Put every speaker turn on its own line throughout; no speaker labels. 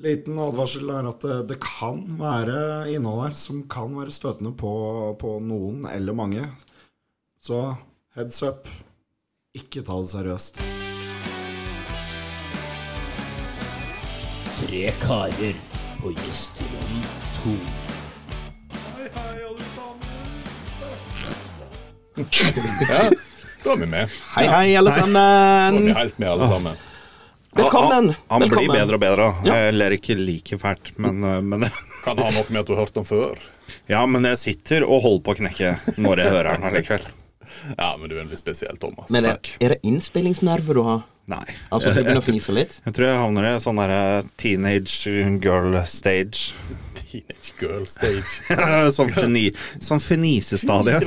Liten advarsel er at det, det kan være innhold her som kan være støtende på, på noen eller mange. Så heads up. Ikke ta det seriøst.
Tre karer på gjesterom to.
Ja, da er vi med.
Hei, hei, alle sammen.
Vi er helt med, alle sammen.
Velkommen.
Han, han
Velkommen.
blir bedre og bedre. Jeg ler ikke like fælt, men, eh, men
Kan ha noe med at du har hørt den før.
Ja, men jeg sitter og holder på å knekke når jeg hører den allikevel.
Ja, men du er litt spesiell, Thomas.
Men er,
Takk.
er det innspillingsnerver du har?
Nei.
Altså, du
jeg,
begynner å
jeg,
fnise litt?
jeg tror jeg havner i sånn derre teenage girl stage.
Teenage girl stage.
sånn fni, sånn fnisestadie.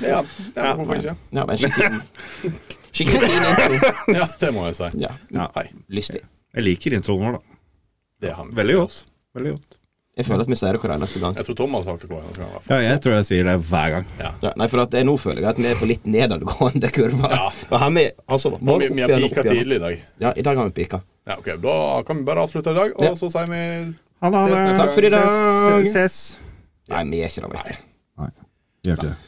Ja, ja, hvorfor ikke?
Ja, men skikkelig, skikkelig fin intro.
Ja, det må jeg si.
Ja,
Ja.
Hei.
lystig.
Jeg liker introen vår, da.
Det har vi.
Veldig godt. Veldig godt.
Jeg føler at vi sier det hver eneste gang.
Jeg tror Tom har sagt det hver gang. i hvert fall.
Ja, jeg tror jeg sier det hver gang.
Ja, nei, for at jeg, nå føler jeg at vi er på litt nedadgående kurve.
Ja.
Og her vi, altså,
Og
bare
Vi,
opp
vi har
igjen, opp
pika
igjen.
tidlig i dag.
Ja, i dag har vi pika.
Ja, ok, Da kan vi bare avslutte i dag,
Ja.
og så sier vi
Ha det. ha det.
Ses neste
Takk for i dag.
Ses. ses.
Nei, vi er ikke det, vet du.
Nei, gjør ikke det.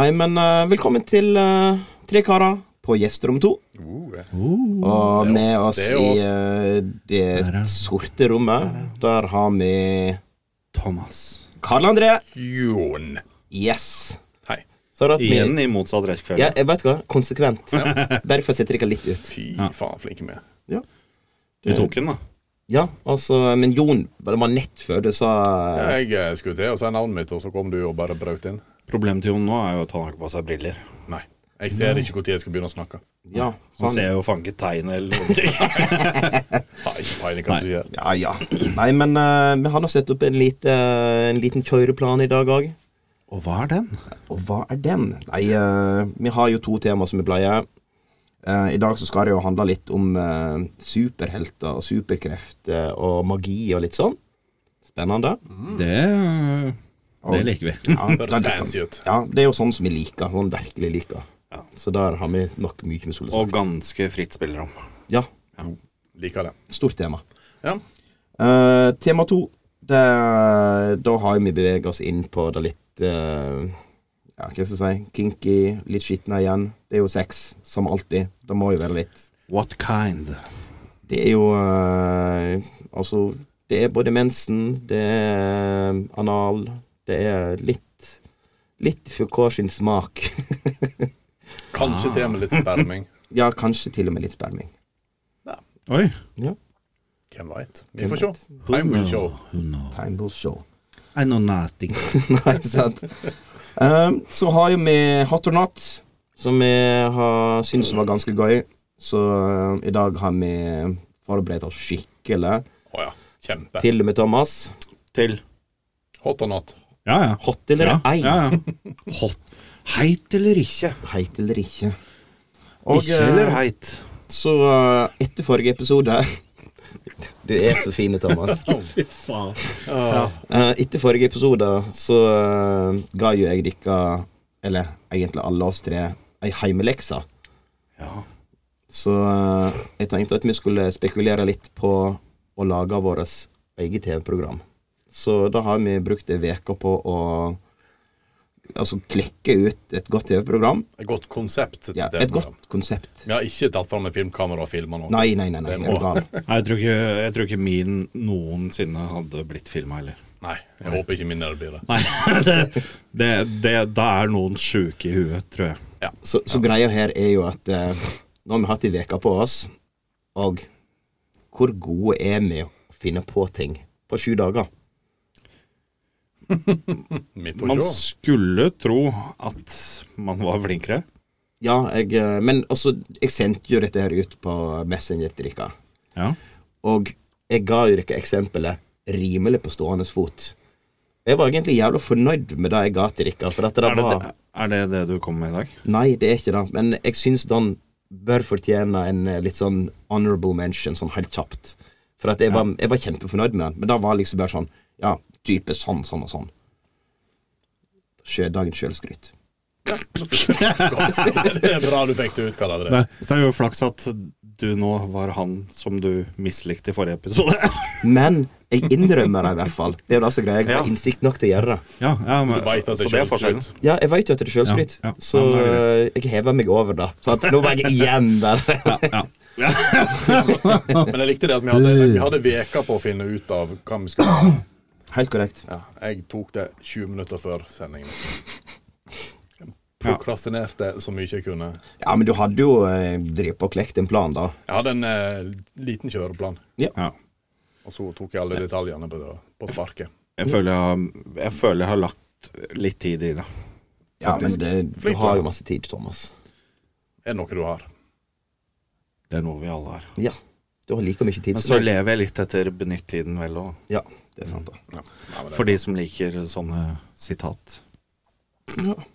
Nei, men eh, velkommen til eh, Tre karer på gjesterom to.
uh,
Og
Det er
med
oss,
oss
det
i
er oss.
eh, det sorte rommet, der har vi
Thomas.
Karl André.
Jon.
Yes.
Hei.
Så er det at vi
Igjen i motsatt
ja,
rekkefølge.
jeg vet hva, konsekvent. Bare for å sette dere litt ut.
Fy faen, flinke vi er.
Du tok den, da.
Ja, altså, Men Jon det var nett før du sa
Jeg eh, skulle til å si navnet mitt, og så kom du og bare brøt inn.
Problemet til Jon nå er jo at han har ikke på seg briller.
Nei. Jeg ser ikke når jeg skal begynne å snakke.
Ja.
Han
Sånn.
ser jo fanget tegn eller noe.
Nei, ikke peiling hva som skjer.
Ja, ja. Nei, men eh, vi har nå satt opp en, lite, en liten kjøreplan i dag òg.
Og hva er den?
Og hva er den? Nei, eh, vi har jo to tema som vi pleier. Eh, I dag så skal det jo handle litt om eh, superhelter og superkrefter og magi og litt sånn. Spennende.
Det, eh, det liker vi.
Ja,
Høres
den-
fancy ut.
Ja, det er jo sånn som vi liker. Sånn virkelig liker.
Ja.
Så der har vi nok mye med solsaks.
Og ganske fritt spillerom.
Ja,
Liker det.
stort tema.
Ja.
Eh, tema to, det, da har vi beveget oss inn på det litt eh, Ja, hva skal jeg si? Kinky, litt skitne igjen. Det er jo sex, som alltid. Det må jo være litt
What kind?
Det er jo eh, Altså, det er både mensen, det er anal, det er litt Litt for hver sin smak.
Kanskje til og med litt sperming.
ja, kanskje til og med litt sperming.
Oi.
Ja.
Hvem veit? Vi får se. Time will show.
Time will show.
I know nothing.
Nei, sant. Ehm, så har jo vi Hot or Not, som vi har syntes var ganske gøy. Så eh, i dag har vi forberedt oss skikkelig.
Å ja. Kjempe.
Til og med Thomas.
Til.
Hot or not.
Ja, ja.
Hot eller
Ja,
ei,
ja, ja. Hot. Heit eller ikke?
heit eller ikke.
ikke eller heit?
Så eh, etter forrige episode Du er så fin, Thomas.
Fy faen.
Eh, etter forrige episode så eh, ga jo jeg dere, eller egentlig alle oss tre, ei heimelekse.
Ja.
Så eh, jeg tenkte at vi skulle spekulere litt på å lage vårt eget TV-program. Så da har vi brukt ei uke på å altså klekke ut et godt TV-program.
Et godt konsept. til
Ja,
det
et
programmet.
godt konsept.
Vi har ikke tatt fram et filmkamera og filma noe.
Nei, nei, nei.
Det
nei, er
må-
du gal?
Nei, Jeg tror ikke, jeg tror ikke min noensinne hadde blitt filma heller.
Nei, jeg håper ikke min er det blir det.
Nei, det, det, det, Da er noen sjuke i huet, tror jeg.
Så, så greia her er jo at eh, nå har vi hatt ei uke på oss, og hvor gode er vi å finne på ting på sju dager?
Vi får
Man
se.
skulle tro at man var flinkere.
Ja, jeg, eh, men altså, jeg sendte jo dette her ut på Messenger til dere.
Ja.
Og jeg ga jo dere eksempelet rimelig på stående fot. Jeg var egentlig jævla fornøyd med det jeg ga til dere. For at det
Er det,
var,
er det det du kom med i dag?
Nei, det er ikke det. Men jeg syns den bør fortjene en eh, litt sånn honorable mention, sånn helt kjapt. For at jeg, var, jeg var kjempefornøyd med den. Men det var liksom bare sånn Ja, type sånn, sånn og sånn. Sjø, dagens sjølskryt.
Godt. Det er bra du fikk det ut, Karl André.
Det, det er jo flaks at du nå var han som du mislikte i forrige episode.
Men jeg innrømmer det i hvert fall. Det er jo det som er greia. Jeg har
Ja.
innsikt nok til å gjøre det.
ja, ja, men,
Du vet at det
så det er
kjøres
forskjellen.
ut.
Ja, jeg veit jo at det er sjølskryt,
Ja, ja.
så
Ja, men da er
jeg hever meg over det. Så at nå var jeg igjen der.
Ja.
Men jeg likte det at vi hadde, vi hadde veka på å finne ut av hva vi skulle ha.
Helt korrekt.
Ja, jeg tok det 20 minutter før sendingen. Prokrastinerte så mye jeg kunne.
Ja, men du hadde jo eh, drevet på og klekt en plan, da.
Jeg hadde en eh, liten kjøreplan,
Ja.
og så tok jeg alle detaljene på, det, på sparket.
Jeg, føler jeg, har- jeg føler jeg har lagt litt tid i det.
Ja, men
Faktisk.
det, du
Flink
har
plan.
jo masse tid, Thomas.
Er det noe du har?
Det er noe vi alle har.
Ja. Du har like mye tid
Men så
som meg.
lever jeg litt etter benytt tiden vel òg,
Ja, det er sant, da.
Nei, men det-
for de som liker sånne sitat.
Godt.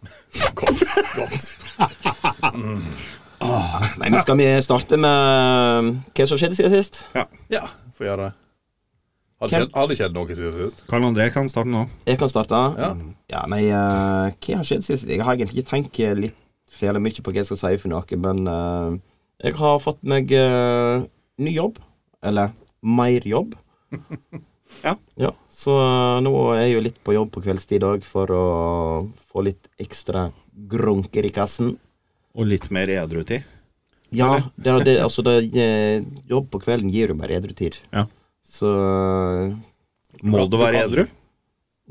godt.
Nei, men skal vi starte med eh, hva som skjedde siden sist?
Ja, får gjøre det. Har det
Hvem-
skjedd, har det skjedd noe siden sist?
Karl André kan starte nå.
Jeg kan starte.
Ja.
Ja, nei, eh, hva har skjedd siden sist? Jeg har egentlig ikke tenkt litt fæle mye på hva jeg skal si for noe, men eh, jeg har fått meg eh, ny jobb. Eller mer jobb.
Ja.
ja. Så eh, nå er jeg jo litt på jobb på kveldstid òg for å få litt ekstra grunker i kassen.
Og litt mer edrutid.
Ja, det, er- det, altså det, eh, jobb på kvelden gir jo bare edru tid.
Ja.
Så eh,
Må du være edru?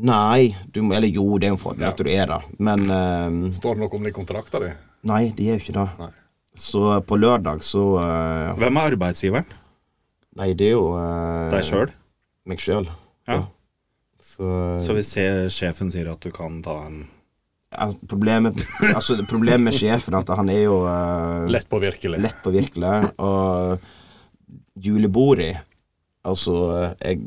Nei, du må Eller jo, det er en fordel at du er det, men eh,
Står det noe om det i kontrakta di?
Nei, det er jo ikke det.
Nei.
Så på lørdag så eh,
Hvem er arbeidsgiveren?
Nei, det er jo eh,
Deg sjøl?
meg sjøl.
Ja.
Så, eh,
Så hvis se- sjefen sier at du kan ta en
altså, problemet, altså, problemet med sjefen er at han er jo eh,
Lett påvirkelig.
lett påvirkelig. Og julebordet Altså, jeg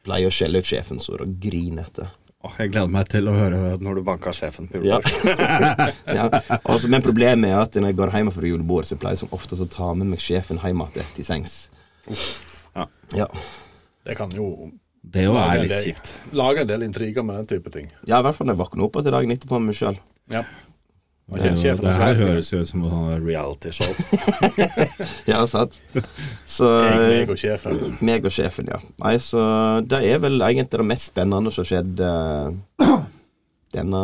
pleier å skjelle ut sjefen så det griner etter.
Åh, jeg gleder meg til å høre når du banka sjefen på
Ja.
julebord.
ja. Altså, men problemet er at når jeg går hjem fra julebord, så pleier jeg som oftest å ta med meg sjefen hjem igjen til sengs.
Ja.
Ja.
Det kan jo
Det jo
lage
er
en
litt
del-
kjipt.
Lage en del intriger med den type ting.
ja, i hvert fall når jeg våkner opp til dagen etterpå med meg sjøl.
Ja.
Det, er jo-
Sjefen
Eh, det her
er stress.
høres jo ut som et realityshow.
Ja, sant. Så eh,
Jeg, meg og sjefen.
meg og sjefen, ja. Nei, så det er vel egentlig det mest spennende som skjedde eh, denne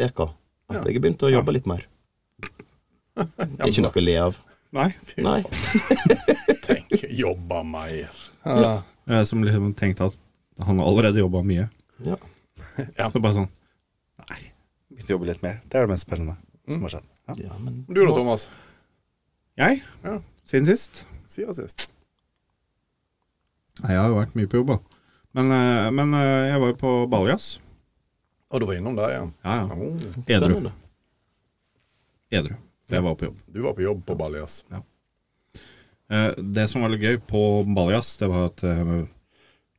veka. At jeg har begynt å jobbe litt mer. Det er ikke noe å le av.
Nei.
Fy
Nei.
faen. Tenk, jobba mer.
Jeg som liksom tenkte at han har allerede jobba mye.
Ja.
Så bare sånn Nei, begynte å jobbe litt mer. Det er det mest spennende som har skjedd. Ja.
ja, men
Du da, Thomas?
Jeg?
Ja.
Siden sist?
Siden sist.
Nei, jeg har jo vært mye på jobb, da. Men, eh, men eh, jeg var jo på Baljazz.
Og du var innom der, ja.
Ja, ja.
Oh,
Edru.
spennende.
Edru. Jeg var på jobb.
du var på jobb på Balias.
Eh, Det som var litt gøy på Baljas, det var at jeg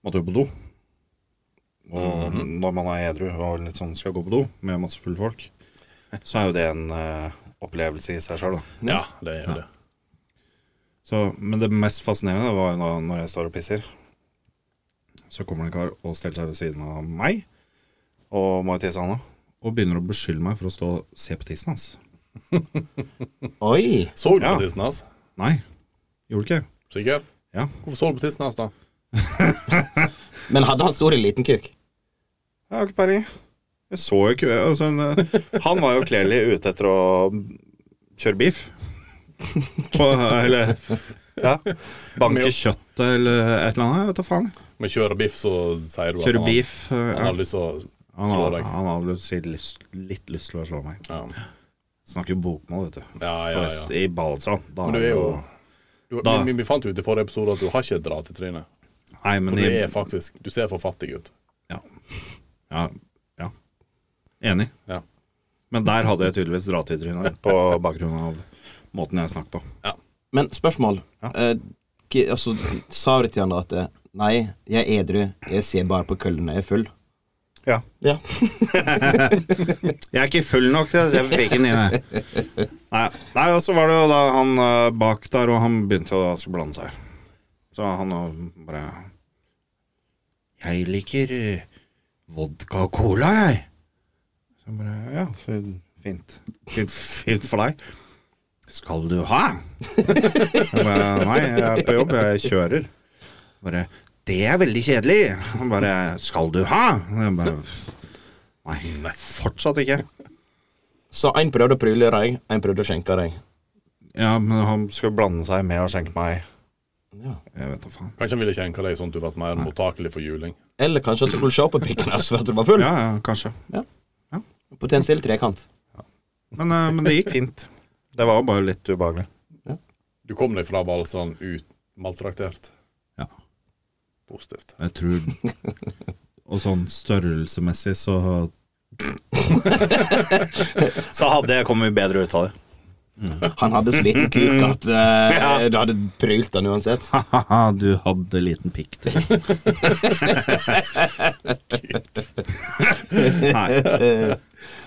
måtte jo på do. Og når man er edru og litt sånn skal gå på do med masse fulle folk, så er jo det en eh, opplevelse i seg sjøl, da.
Ja, det er jo det.
Så, men det mest fascinerende var jo da når jeg står og pisser. Så kommer det en kar og steller seg ved siden av meg og må jo tisse, han òg. Og begynner å beskylde meg for å stå og se på tissen hans.
Oi!
Så du
Ja.
på tissen hans?
Nei, gjorde ikke.
Sikker?
Ja.
Hvorfor så du på tissen hans, da?
Men hadde han stor eller liten kuk?
Jeg har ikke peiling. Jeg så jo ikke altså, en, eh, Han var jo kledelig ute etter å kjøre beef. På, eller ja, banke kjøttet eller et eller annet. Jeg vet da faen.
Men kjører biff, så sier du at
Kjøre
han,
beef. eh,
han har lyst til å
Han
slå
hadde
deg.
han hadde sikkert lyst, litt lyst til å slå meg.
Ja,
Snakker jo bokmål, vet du.
ja,
På
ja.
vest-
ja.
I Balsand. Da
Men du er jo du,
Da-
vi, vi fant jo ut i forrige episode at du har ikke et dra til trynet.
Nei, men
For du
i,
er faktisk Du ser for fattig ut.
ja, ja. Enig.
Ja.
Men der hadde jeg tydeligvis dratt i trynet på bakgrunn av måten jeg snakker på.
Men spørsmål.
Ja.
Eh, hva- altså, sa du til han da at eh, Nei, jeg er edru. Jeg ser bare på køllene. Jeg er full.
Ja.
Ja.
Jeg er ikke full nok til å se på pikken din. jeg. Nei, nei og så var det jo da han eh, bak der, og han begynte å altså blande seg. Så han eh, bare Jeg liker eh, vodka og cola, jeg. Så jeg bare Ja, så fint. Fint, fint for deg. Skal du ha? Jeg bare, Nei, jeg er på jobb, jeg kjører. Bare Det er veldig kjedelig. Han bare Skal du ha? Jeg bare Nei, fortsatt ikke.
Så én prøvde å pryle deg, én prøvde å skjenke deg.
Ja, men han skal blande seg med og skjenke meg
Ja.
Jeg vet da faen.
Kanskje han ville kjenke deg sånn at du ble mer mottakelig for juling.
Eller kanskje at du skulle se på pikken hans for at du var full.
Ja, ja, kanskje.
Potensiell trekant.
Men, eh, men det gikk fint. Det var jo bare litt ubehagelig.
Du kom deg fra Valsand ut maltraktert.
Ja.
Positivt.
Jeg tror Og sånn størrelsemessig så Så hadde jeg kommet bedre ut av det.
Han hadde så liten kuk at eh, du hadde prylt han uansett.
Ha-ha, du hadde liten pikk til. Nei,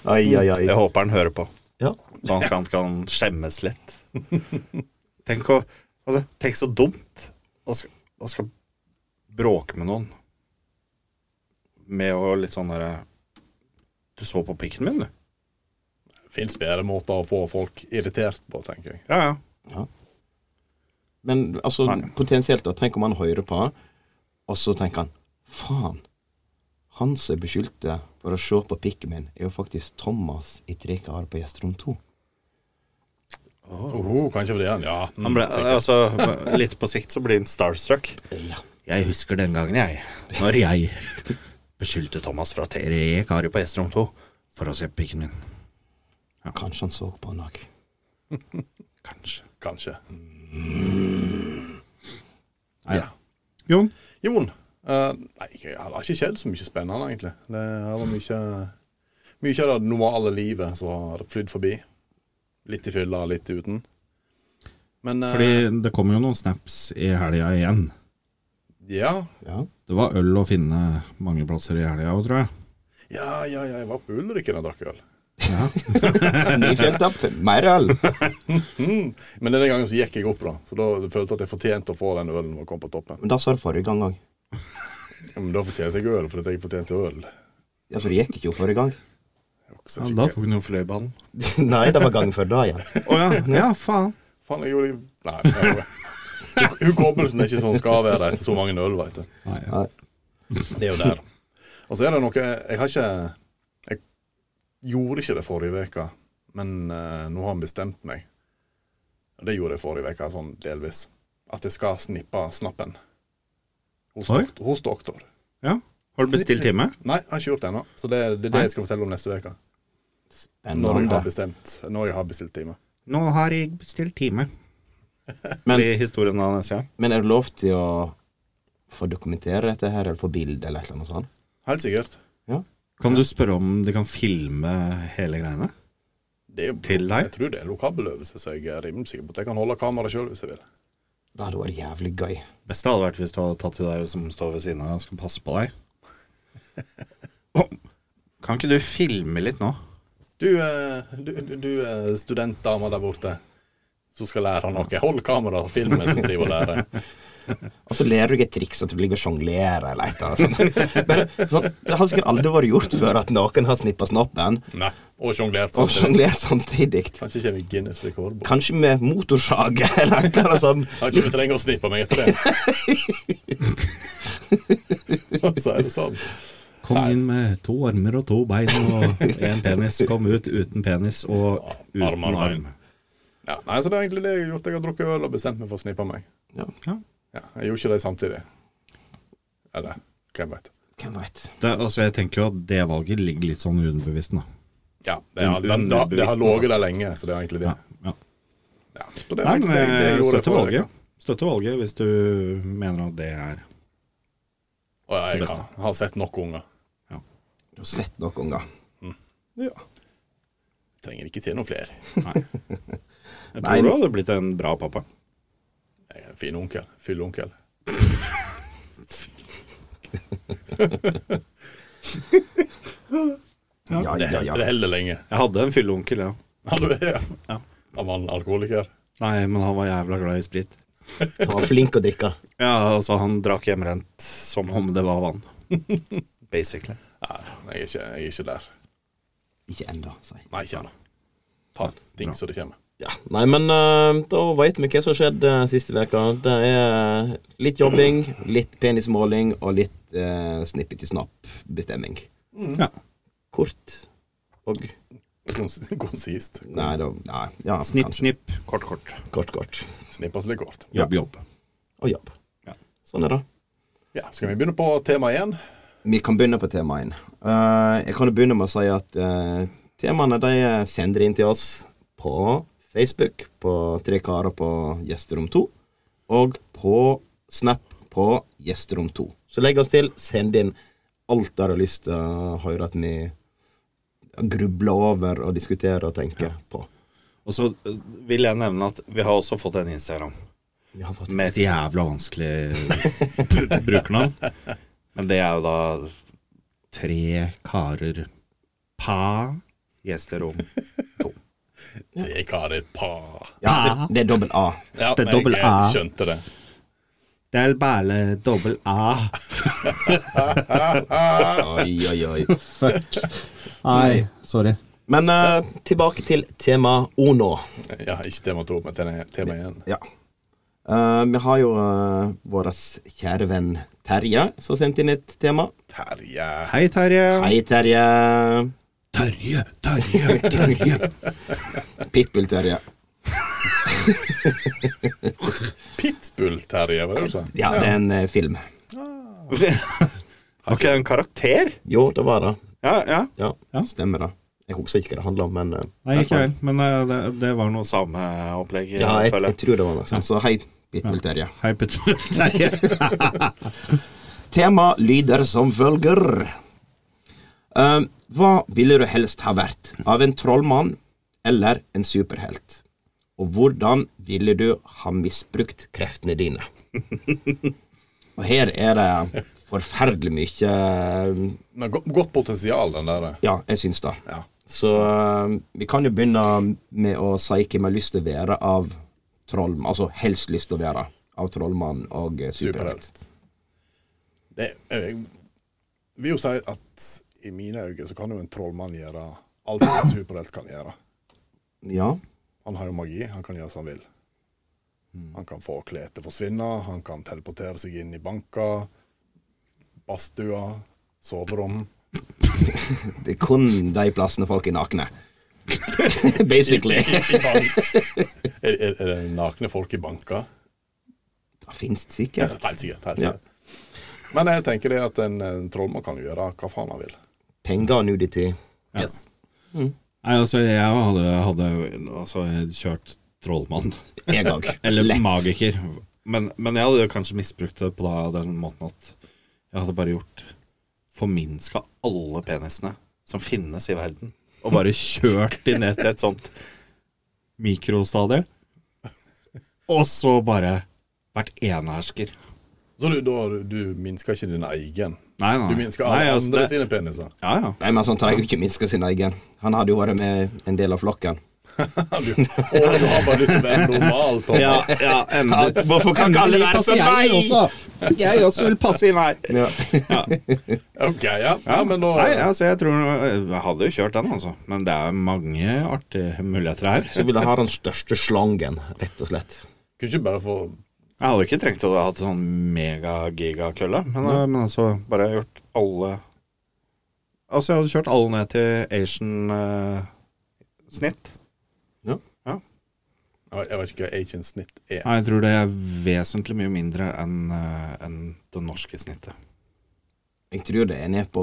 Ai, ai, ai.
jeg håper han hører på,
Ja.
så han kan, kan skjemmes litt. Tenk, å, altså, tenk så dumt å skal, å skal bråke med noen med å litt sånn derre Du så på pikken min, du.
Fins bedre måter å få folk irritert på, tenker jeg.
Ja, ja.
Men altså,
Nei.
potensielt, da. Tenk om han hører på, og så tenker han Faen. Han som er beskyldte for å se på pikken min, er jo faktisk Thomas i Tre karer på gjesterom 2.
Oh, kanskje fordi han Ja. mm,
Han ble, altså, litt på sikt så blir han starstruck.
Ja.
Jeg husker den gangen, jeg, når jeg beskyldte Thomas fra TRE E, Kari på Estrom 2 for å se på pikken min.
Kanskje han så på han òg.
Kanskje.
Kanskje.
Ja. Jon?
Jon. eh, nei, det har ikke skjedd så mye spennende, egentlig. Det har vært mye Mye av det normale livet som har flydd forbi. Litt i fylla, litt uten. Men eh,
det kom jo noen snaps i helga igjen.
ja,
Ja.
Det var øl å finne mange plasser i helga òg, tror jeg.
ja, ja, ja, jeg var på Ulriken og drakk øl.
Ny fjelltapp, mer øl.
Mm. Men denne gangen så gikk jeg opp, da. Så da følte jeg at jeg fortjente å få den ølen og komme på toppen.
Men da sa du forrige gang òg.
Ja, Men da fortjente jeg øl, fordi jeg fortjente øl.
Altså, det gikk ikke jo forrige gang.
Også,
da tok han jo fløibanen.
Nei, det var gangen før da igjen.
Å ja. ja, faen.
Faen, jeg gjorde Nei. Jeg gjorde. Huk- Hukommelsen er ikke sånn skal være etter så mange øl, veit du.
Nei, ja.
Nei.
Det er jo der. Og så er det noe Jeg har ikke Jeg gjorde ikke det forrige uke, men eh, nå har han bestemt meg. Og det gjorde jeg forrige uke, sånn delvis. At jeg skal snippe snappen. Hos,
Oi.
doktor, hos doktor.
ja. Har du bestilt time?
Nei, jeg har ikke gjort det ennå. Så det er det, er det jeg skal fortelle om neste uke. Når jeg har
Spennende.
bestemt Når jeg har bestilt time.
Nå har jeg bestilt time.
Men-
Blir historien av neste gang?
Men er det lov til å få dokumentere dette her, eller få bilde, eller et eller annet sånt?
Helt sikkert.
Kan du spørre om de kan filme hele greiene?
Det er jo,
Til deg?
Jeg tror det er en lokabeløvelse, så jeg er rimelig sikker på at jeg kan holde kameraet sjøl hvis jeg vil.
Det hadde vært jævlig gøy.
Beste hadde vært hvis du hadde tatt til deg som står ved siden av og skal passe på deg. Kan ikke du filme litt nå?
Du, eh, du, du, du eh, studentdama der borte som skal lære han noe. Hold kameraet og film mens du driver og lærer.
Og så lærer du deg et triks at du ligger og sjonglerer eller et eller annet sånt. Bare, sånn, det har sikkert aldri vært gjort før at noen har snippa snoppen
Nei, og sjonglert
og
samtidig.
sjonglert samtidig.
Kanskje kommer Guinness rekordbok.
Kanskje med motorsage eller et eller annet sånt.
Kan ikke vi trenger å snippe meg etter det. Så er det sånn.
Kom inn med to armer og to bein og én penis. Kom ut uten penis og uten
Arm, arm,
arm.
Ja, nei, så det er egentlig det jeg har gjort. Jeg har drukket øl og bestemt meg for å snippe meg.
Ja,
Ja.
Ja, jeg gjorde ikke det samtidig. Eller hvem veit.
hvem veit.
Det, altså, jeg tenker jo at det valget ligger litt sånn underbevisst, da.
Ja, det, har- den- da- det har ligget der lenge, så det er egentlig det.
Ja, ja.
Ja, så det er
Nei,
egentlig
men
det, det jeg
jeg
gjorde
støtter
forrige uke.
valget. Støtter valget hvis du mener at det er
Å, ja, jeg
Det beste.
har, har sett nok unger.
Du har sett noen ganger. Ja.
Trenger ikke til noen flere.
Jeg
Nei.
tror du hadde blitt en bra pappa.
Jeg er en fin onkel. Fyllonkel.
Ja,
Det,
ja, ja.
det holder lenge.
Jeg hadde en fylleonkel, ja.
Ja, du er ja. Han var en alkoholiker.
Nei, men han var jævla glad i sprit.
Han var flink å drikke.
Ja, altså, han drakk hjemmerent som om det var vann. Basically.
Nei, jeg er ikke, jeg er ikke der.
Ikke ennå, sier jeg.
Nei, ikke ennå. Ta ting som det kommer.
Ja, Nei, men eh, da veit vi hva som skjedde eh, siste veka Det er eh, litt jobbing, litt penismåling og litt uh, snippeti-snapp-bestemming.
Mm. Ja.
Kort og
Kons- Konsist.
Nei, da nei, ja,
Snipp,
kanskje.
snipp, kort, kort.
Kort, kort.
Snippas litt kort.
Jobb, jobb.
Og jobb.
Ja.
Sånn er det.
Ja, Skal vi begynne på tema én?
Vi kan begynne på tema én. Eh, jeg kan jo begynne med å si at eh, temaene de eh, sender inn til oss på Facebook, på Tre karer på Gjesterom 2, og på Snap på Gjesterom 2. Så legg oss til, send inn alt dere har lyst til å høre at vi grubler over og diskuterer og tenker på.
Og så eh, vil jeg nevne at vi har også fått en Instagram
Vi har fått
med et jævla vanskelig brukernavn. Men det er jo da tre karer pa gjesterom.
Tre karer, pa.
ja, det, det er dobbel A.
Ja,
Det er
men jeg
dobbel A.
Skjønte det.
Det er bare dobbel A.
Oi, oi, oi.
Fuck. Nei, sorry.
Men eh, tilbake til tema Ono.
Ja, ikke tema to, men tema- tema én.
Ja. Eh, vi har jo uh, vår kjære venn Terje som har sendt inn et tema.
Terje.
Hei, Terje.
Hei, Terje.
Terje, Terje, Terje.
Pitbull-Terje.
Pitbull-Terje, var det du sa?
Ja, det er en eh, film.
Var ikke det en karakter?
Jo, det var det.
Ja, ja.
Ja,
Ja.
Stemmer det. Jeg husker ikke hva det handla om, men eh,
Nei, ikke vel. Men eh, det, det var noe samme opplegg,
ja, jeg,
føler
jeg tror det var noe sånt. Så hei, Pitbull-Terje.
Hei, Petter. Terje.
Tema lyder som følger. Eh, hva ville du helst ha vært? Av en trollmann eller en superhelt? Og hvordan ville du ha misbrukt kreftene dine? Og her er det forferdelig mye eh,
Men go- Godt potensial, den der.
Ja, jeg syns det.
Ja.
Så eh, vi kan jo begynne med å si hvem jeg har lyst til å være av trollmann Altså helst lyst til å være av trollmann og eh, superhelt.
Superhelt. Det, jeg vil jo si at i mine øyne så kan jo en trollmann gjøre alt som en superhelt kan gjøre.
Ja.
Han har jo magi, han kan gjøre som han vil. Han kan få klær til å forsvinne, han kan teleportere seg inn i banker, badstua, soverom.
Det er kun de plassene folk er nakne. Basically.
I, i bank. er, er, er det nakne folk i banker?
Det fins
Ja,
sikkert.
Helt sikkert. Helt sikkert. Men jeg tenker det at en, en trollmann kan jo gjøre hva faen han vil.
Penger og nudity.
Yes.
Nei, altså, jeg hadde, hadde altså, kjørt trollmann.
Jeg òg.
Eller magiker. Men, men jeg hadde jo kanskje misbrukt det på da, den måten at jeg hadde bare gjort Forminska alle penisene som finnes i verden, og bare kjørt de ned til et sånt mikrostadie. Og så bare vært enehersker.
Så du, da, du minsker ikke din egen?
Nei, nei.
Du minsker
Nei,
alle
altså,
andre
det-
sine peniser?
Ja, ja.
Nei, men sånn trenger jo ikke minske sin egen. Han hadde jo vært med en del av flokken.
Du, å, du har bare lyst til å være normal, Thomas.
Ja, ja, endelig. Hvorfor kan ikke alle
Endelig
være
passer
som
jeg
meg?
også. Jeg også vil passe inn her.
Ja.
Ok, ja. ja men da
Nei, altså, jeg tror Jeg hadde jo kjørt den, altså. Men det er mange artige muligheter her.
Så ville jeg ha den største slangen, rett og slett.
Kunne ikke bare få
Jeg hadde ikke trengt å ha hatt sånn mega-giga-kølle, men, eh, men altså bare gjort alle Altså, jeg hadde kjørt alle ned til eh, Asian-snitt.
Jeg vet ikke hva agent snitt er.
Nei, jeg tror det er vesentlig mye mindre enn eh, enn det norske snittet.
Jeg tror det er ned på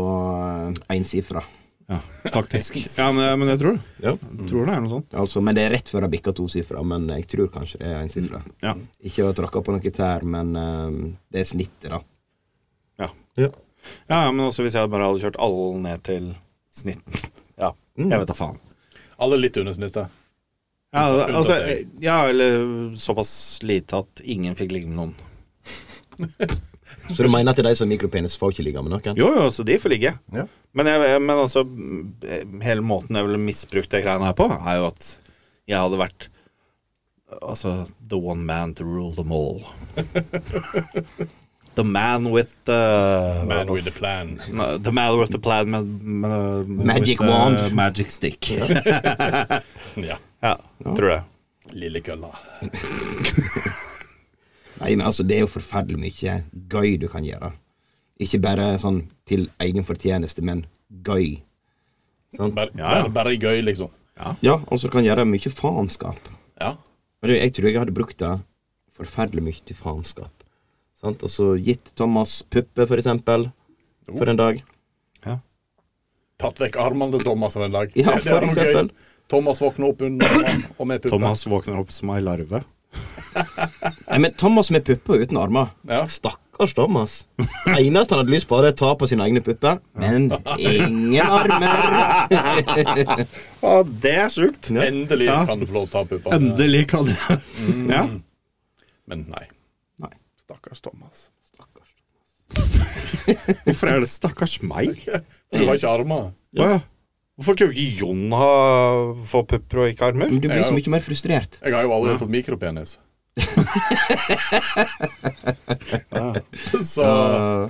én sifra.
Ja, faktisk. Mm. ja, men, eh, men jeg tror det.
Ja.
Jeg tror det er noe sånt.
Altså, men det er rett før det bikker to sifra, men jeg tror kanskje det er én sifra.
Mm, Ja.
Ikke å tråkke på noen tær, men eh, det er snittet, da.
Ja, ja, men også hvis jeg bare hadde kjørt alle ned til snitten. Ja, jeg vet da faen.
Alle litt under snittet.
Ja,
Unntatt
altså,
deg.
ja, eller såpass lite at ingen fikk ligge med noen.
Så du mener at de som har mikropenis, får ikke ligge med noen?
Jo, jo, så de får ligge.
Ja.
Men, jeg, jeg- men altså, m- hele måten jeg ville misbrukt det greiene her på, er jo at jeg hadde vært Altså, the one man to rule them all. the man with the
Man with the plan.
No, the man with the plan med, med, med-
Magic
with the
wand.
Magic stick.
Ja.
ja, tror jeg.
Lille kølla.
Nei, men altså, det er jo forferdelig mye gøy du kan gjøre. Ikke bare sånn til egen fortjeneste, men gøy. Sant?
Bare, bare, bare gøy, liksom.
Ja, altså, du kan gjøre mye faenskap.
Ja.
Men du, jeg tror jeg hadde brukt det forferdelig mye til faenskap. Sant? Altså gitt Thomas puppe, for eksempel, for en dag.
Tatt vekk armene til Thomas en dag.
Ja,
Det er
for
noe
eksempel.
gøy. Thomas våkner opp under armene, og med pupper.
Thomas våkner opp som ei larve.
Nei, men Thomas med pupper uten armer.
Ja.
Stakkars Thomas. Det eneste han hadde lyst på, var å ta på sine egne pupper, men ingen armer.
Å, det er sjukt!
Endelig
Ja.
kan du få lov til å ta puppene.
Endelig kan Mm. du Ja.
Men nei.
Nei.
Stakkars Thomas.
Stakkars.
Hvorfor er det stakkars meg?
Du har ikke armer.
Å, ja. Hvorfor kunne ikke Jon ha få pupper og ikke armer?
Men du blir så mye mer frustrert.
Jeg har jo allerede fått mikropenis. Ah. Så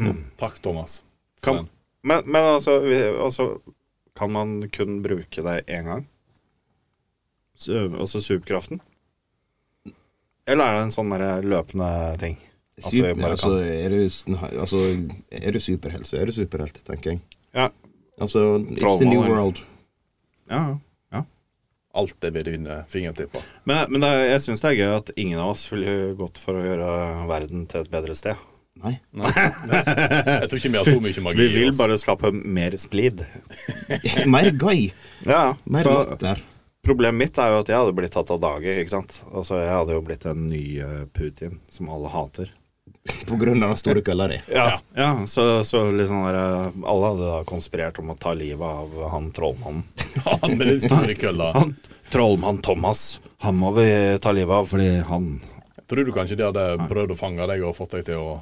Uh,
takk, Thomas. for
Kan,
den.
men, men altså, vi- altså Kan man kun bruke det én gang? Su- Altså superkraften? Eller er det en sånn der løpende ting? Altså, jeg
super,
bare
altså, er du, sn- altså, er du superhelt, så er du superhelt, tenker jeg.
Ja.
Altså, it's the
Trollmann,
new
eller?
world.
Ja, ja.
Alt er ved dine fingertipper.
Men, men det, er- jeg syns det er gøy at ingen av oss ville gått for å gjøre verden til et bedre sted.
Nei.
Jeg tror ikke vi har så mye magi
Vi
i
vil
oss.
bare skape mer splid.
Mer gøy.
Ja,
Mer
for
latter.
Problemet mitt er jo at jeg hadde blitt tatt av dage. ikke sant? Altså, Jeg hadde jo blitt den nye Putin som alle hater.
På grunn av den store kølla di.
Ja, ja så, så liksom der, eh, alle hadde da konspirert om å ta livet av han trollmannen.
Han med den store kølla.
Han trollmann Thomas, han må vi ta livet av fordi han
Tror du kanskje de hadde prøvd å fange deg og fått deg til å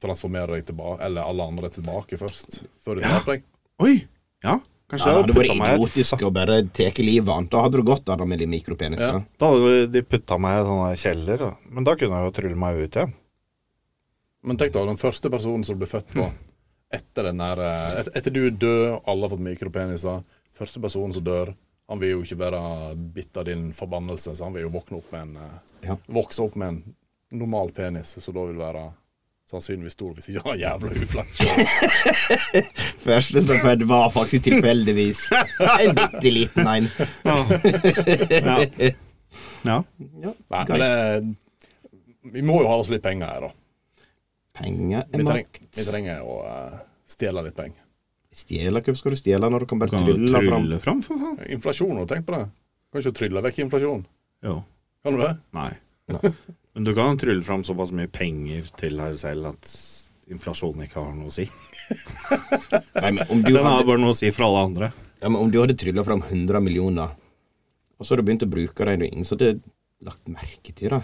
transformere deg tilbake, eller alle andre tilbake først? Før de tar deg?
Oi! Ja, kanskje ja,
Ja, det hadde
de
vært
putta meg i et
idiotisk å bare teke livet av han. Da hadde du godt av det med de mikropeniska.
Ja.
Da hadde de putta meg i en sånn der kjeller, da. men da kunne jeg jo trylle meg ut igjen.
Men tenk da, den første personen som ble født på etter den der eh, et, Etter du er død, alle har fått mikropeniser. Første personen som dør, han vil jo ikke være bitt av din forbannelse, så han vil jo våkne opp med en eh,
Ja.
Vokse opp med en normal penis, så da vil være sannsynligvis stor, hvis ikke han har jævla uflaks.
Første som ble født, var faktisk tilfeldigvis en bitte liten en.
Ja. ja.
Ja,
Nei,
gøy.
men eh, vi må jo ha oss litt penger her, da.
Penger er
Vi, treng,
makt.
vi trenger å eh, stjele litt penger.
Stjele? Hvorfor skal du stjele når du kan
Du
bare
kan jo
trylle fram?
trylle fram, for faen.
Inflasjon, og tenk på det. Kan ikke trylle vekk inflasjon.
Jo.
Kan du det?
Nei. Men du kan trylle fram såpass mye penger til deg selv at inflasjonen ikke har noe å si.
Nei, men om du
Den
hadde
har bare noe å si for alle andre.
Ja, men om du hadde trylla fram 100 millioner, og så hadde du begynt å bruke dem, og ingen som hadde lagt merke til det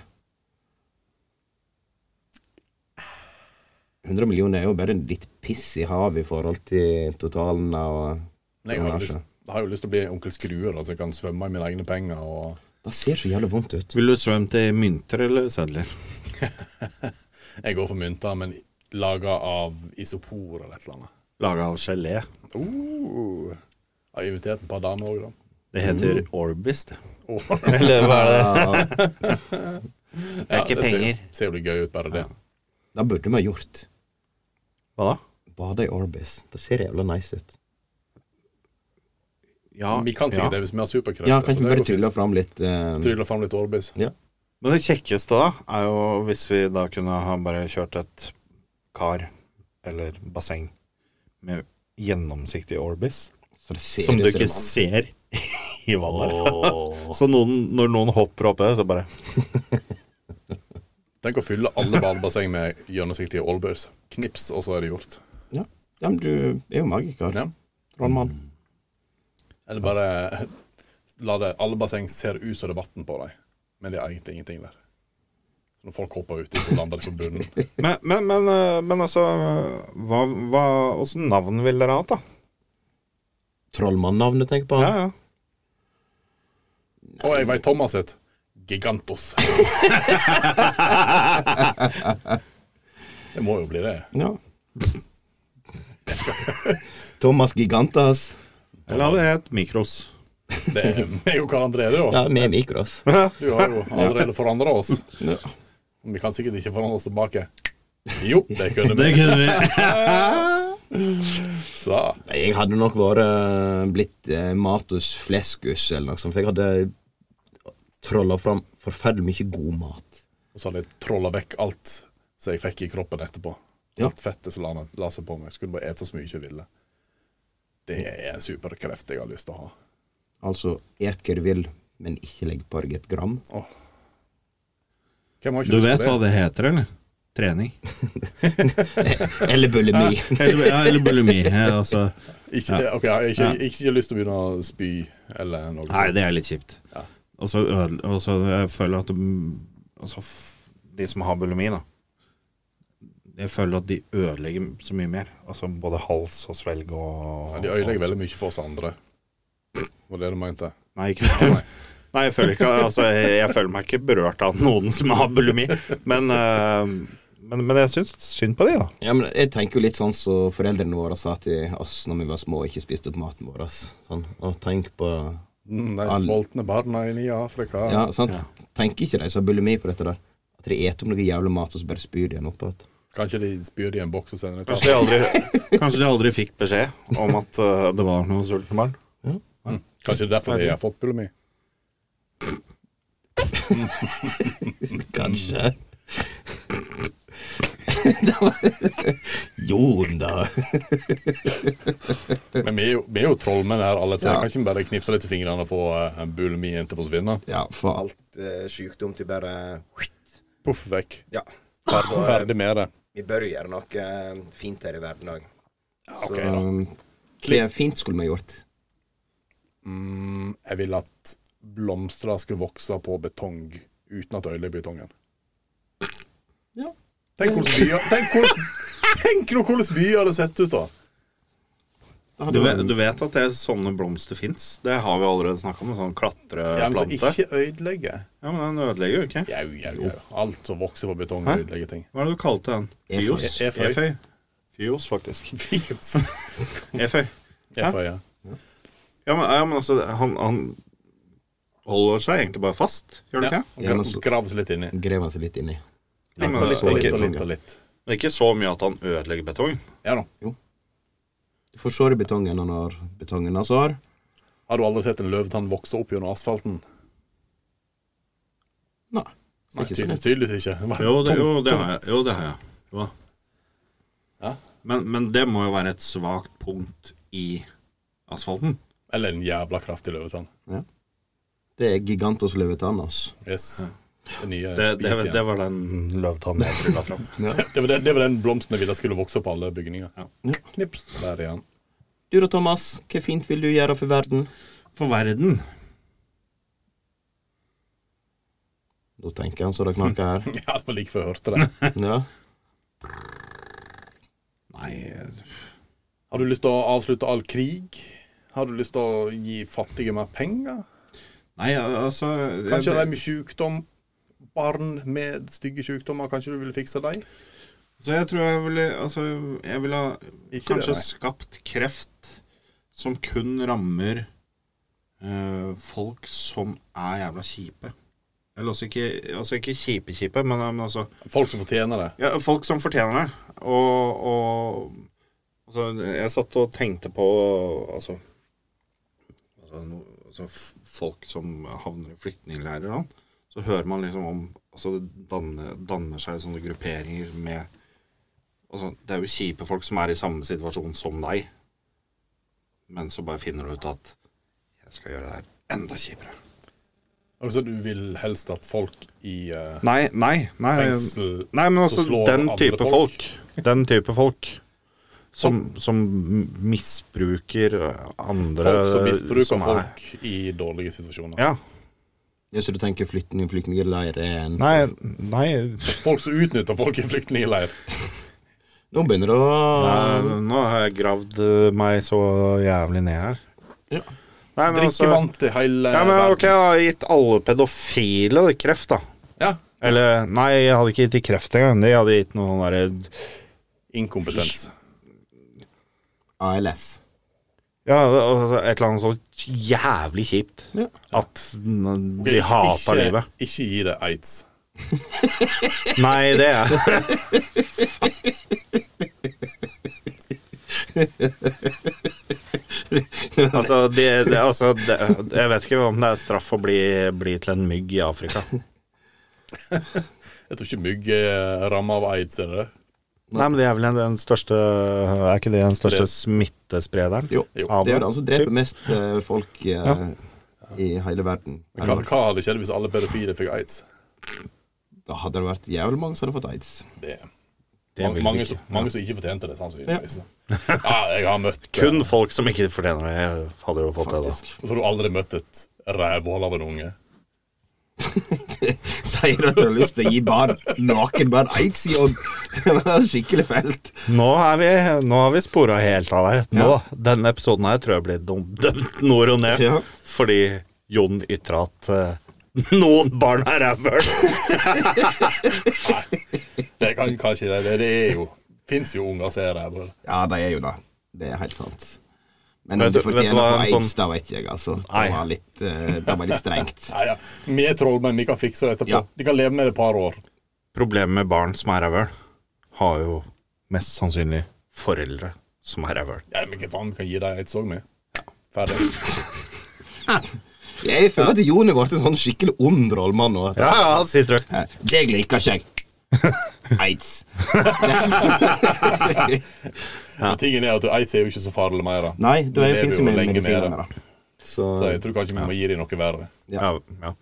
100 millioner er jo bare litt piss i havet i forhold til totalen av
Men jeg har, jo
Kanskje.
lyst, jeg har jo lyst til å bli onkel Skrue, da, så jeg kan svømme i mine egne penger. Og
Det ser så jævlig vondt ut.
Vil du svømme til mynter eller sedler?
jeg går for mynter, men laga av isopor eller et eller annet.
Laga av gelé.
Uh, jeg har invitert et par damer òg, da.
Det heter Orbis, det.
Åh,
Mm. Eller hva er det?
Ja,
Det er ikke
det ser jo-
penger.
Ser jo litt gøy ut, bare det.
det burde vi ha gjort.
Hva da?
Bade i Orbis. Det ser jævla nice ut.
Ja,
Vi kan sikkert
ja.
det hvis vi har superkrefter.
Ja,
så
kanskje
altså. det
vi bare
går fint.
trylle fram litt eh,
Trylle fram litt Orbis.
Men det kjekkeste da, er jo hvis vi da kunne ha bare kjørt et kar eller basseng med gjennomsiktig Orbis,
så det ser
som du
ut som
ikke
det-
ser i vannet. Så noen, når noen hopper oppe, så bare
Tenk å fylle alle badebasseng med gjennomsiktige Orbis. Knips, og så er det gjort.
Ja, men du er jo magiker.
Ja.
Trollmann.
Eller bare la det, alle basseng ser ut som det er vann på dem, men det er egentlig ingenting der. Når folk hopper uti, så lander de på bunnen.
Men, men, men, eh, men altså, hva, hva, hvordan navn ville dere hatt, da?
Trollmannnavnet, tenker jeg på.
Ja, ja.
Og jeg veit Thomas sitt. Gigantos. det må jo bli det.
Ja. Thomas Gigantas.
Eller hadde det hett Mikros?
Det er meg og Karl André, det òg.
Ja, med mikros.
Du har jo allerede forandra oss.
Ja.
Vi kan sikkert ikke forandre oss tilbake. Jo, det kunne
Det
vi.
kunne vi.
Så.
Nei, Jeg hadde nok vært blitt eh, Matus Fleskus eller noe sånt, for jeg hadde trolla fram forferdelig mye god mat.
Og så hadde jeg trolla vekk alt som jeg fikk i kroppen etterpå.
Ja.
Alt fettet som la, la seg på meg. Skulle bare ete så mye jeg ville. Det er en superkreft jeg har lyst til å ha.
Altså, et hva du vil, men ikke legg på deg et gram.
Hvem har ikke
Du
lyst
vet
til
hva det heter, eller? Trening.
Eller bulimi.
Eller, ja, eller bulimi. ja, Altså.
Ikke, ok, jeg har ikke, ikke lyst til å begynne å spy eller noe
Nei,
sånt.
det er litt kjipt.
Ja.
Og så ødel- og så jeg føler jeg at de- altså, f- de som har bulimi, da Jeg føler at de ødelegger så mye mer. Altså både hals og svelg og
Ja, De ødelegger veldig mye for oss andre. Var det du mente?
Nei, ikke Nei, jeg føler, ikke, altså, jeg, jeg føler meg ikke berørt av noen som har bulimi, men, eh, men, men jeg syns synd på de, da.
Ja, men jeg tenker jo litt sånn som foreldrene våre sa til oss når vi var små og ikke spiste opp maten vår. Sånn. Og tenk på
Mm, de
Alle-
sultne barna inne i Afrika.
Ja, sant? Tenker ikke de som har bulimi på dette der, at de eter opp noe jævlig mat, og så bare spyr de den opp igjen.
Kanskje de spyr i en boks og sender det
Kanskje de aldri, kanskje de aldri fikk beskjed om at eh, det var noen sultne barn.
Kanskje det er derfor de har fått bulimi.
Kanskje. Det var- Jon, da.
Men vi er jo, vi er jo trollmenn her alle tre.
Ja.
Kan ikke vi bare knipse litt i fingrene og få uh, bulimien til å forsvinne?
Ja, for alt eh, sjukdom til bare
Poff vekk.
Ja.
Ferdig, ferdig med det.
Vi bør gjøre noe eh, fint her i verden òg.
Ok,
Så Um, hva fint skulle vi ha gjort?
Mm, jeg vil at blomster skulle vokse på betong uten at det ødelegger betongen.
Ja.
Tenk hvordan byer Tenk, hvordan, tenk nå hvordan byer hadde sett ut, da.
Du vet, du vet at det er sånne blomster fins? Det har vi allerede snakka om. en Sånn
Ja, men så
klatreplante.
ikke ødelegge.
Ja, men den ødelegger jo ikke.
Jau, jau, jau. Alt som vokser på betong,
Hæ?
ødelegger ting.
Hva er det du kalte den? Fios?
E- eføy.
Eføy. Fios, faktisk.
Fios.
Eføy.
Jeg får, ja.
Ja, men, ja, men altså, han, han holder seg egentlig bare fast, gjør han
Ja,
ikke?
og gra- Grav seg litt inni.
Grev han seg litt inni.
men
Litt og litt
så
og litt
ikke-
og litt. og litt.
Men ikke så mye at han ødelegger betong.
Ja da.
Du får såre betongen han har betongen hans har.
Har du aldri sett en løvetann vokse opp gjennom asfalten?
Nei. ser
Nei,
ikke sånn
tydelig,
ut.
tydeligvis ikke. Bare
Jo, det,
tomt,
jo, det
tomt.
har jeg. Jo, det har jeg. Jo. da.
Ja.
Men, men det må jo være et svakt punkt i asfalten.
Eller en jævla kraftig løvetann.
Det er Gigantos levetannas.
Yes. Det nye
Det, det,
spis igjen.
det var den løvtannen jeg trylla fram.
Det var den, det var den blomsten jeg ville skulle vokse opp på alle bygninger.
Ja.
Ja.
Knips, der igjen.
Du da, Thomas. Hva fint vil du gjøre for verden?
For verden
Nå tenker han så det knaker her.
Ja, det var like før jeg hørte det.
Ja.
Nei,
Har du lyst til å avslutte all krig? Har du lyst til å gi fattige mer penger?
nei altså
Kanskje de
jeg,
med sykdom Barn med stygge sykdommer, kanskje du vil fikse dem?
Så jeg tror jeg ville Altså, jeg ville ha
Ikke
kanskje
det, nei.
skapt kreft som kun rammer eh, folk som er jævla kjipe. Eller også ikke Altså ikke kjipe-kjipe, men, men altså
Folk som fortjener det.
ja, Folk som fortjener det. Og, og altså, Jeg satt og tenkte på Altså, altså, no, altså f- Folk som havner i flyktningleirer og sånn. Så hører man liksom om altså, Det danner, danner seg sånne grupperinger med altså, Det er jo kjipe folk som er i samme situasjon som deg. Men så bare finner du ut at Jeg skal gjøre det her enda kjipere.
Altså, du vil helst at folk i eh,
Nei, nei, nei.
fengsel
Nei, men
Så
altså,
slår
den
andre
type folk.
folk.
Den type folk som, som misbruker andre
Folk som misbruker
som er-
folk i dårlige situasjoner.
Ja.
ja. Så du tenker flyktning, flyktningleir er en
Nei, nei
Folk som utnytter folk i flyktningleir.
Nå begynner det å
Nå har jeg gravd meg så jævlig ned her.
Ja.
Nei, men altså
Drikkevann til hele
ja, men,
verden.
Ok, jeg har gitt alle pedofile kreft, da.
Ja.
Eller nei, jeg hadde ikke gitt de kreft engang. De hadde gitt noen derre
Inkompetens.
ALS.
Ja, altså, et eller annet så jævlig kjipt.
Ja.
At de hater livet.
Ikke gi det aids.
Nei, det er altså, det, det, altså det, Jeg vet ikke om det er straff å bli, bli til en mygg i Afrika.
Jeg tror ikke mygg er ramma av aids, er det det?
Nei, men det er vel den, den største Er ikke det den største smittesprederen?
Jo,
Jo.
Av
det er jo
det.
den som dreper mest eh, folk eh, i hele verden.
Men Hva, hva hadde skjedd hvis alle pedofile fikk aids?
Da hadde det vært jævlig mange som hadde fått aids.
Det,
Det vil
mange,
vi
mange,
ikke.
som, mange som ikke fortjente det, sannsynligvis. Ja, jeg har møtt
Kun folk som ikke fortjener det, hadde jo fått det. da
Faktisk.
Så har du aldri møtt et rævhål av en unge?
Sier du at du har lyst til å gi barn naken barn aids i ånd? Det var Skikkelig fælt.
Nå er vi, nå har vi spora helt av deg. Nå, Denne episoden her tror jeg blir dum- dømt nord og ned.
Ja.
Fordi Jon ytra at eh, noen barn er rævhøl.
Det kan kanskje det. Det, det er jo Fins jo unger som er rævhøl.
Ja, de er jo det. Det er helt sant. Men
Vet
om de
du- vet du
fortjener
hva
for
en
aids,
sånn-
da vet ikke jeg, altså. Det
Nei.
var litt, eh, det var litt strengt.
Nei, ja. Vi er trollmenn, vi kan fikse det etterpå.
Ja.
De kan leve med det et par år.
Problemet med barn som er rævhøl, har jo mest sannsynlig foreldre som er rævhøl.
Ja, men hva faen, vi kan gi dem aids òg, vi. Ferdig.
Jeg føler at Jon er blitt en sånn skikkelig ond rollmann nå.
Ja, ja, sier du.
Eh, Deg liker ikke jeg. Aids.
Men Tingen er at aids er jo ikke så farlig mer. da.
Nei, du
Vi
er
lever
finnes
jo
jo med
lenge med
medisiner
det.
med det. Så
Så jeg tror kanskje vi må gi dem noe verre.
Ja, ja.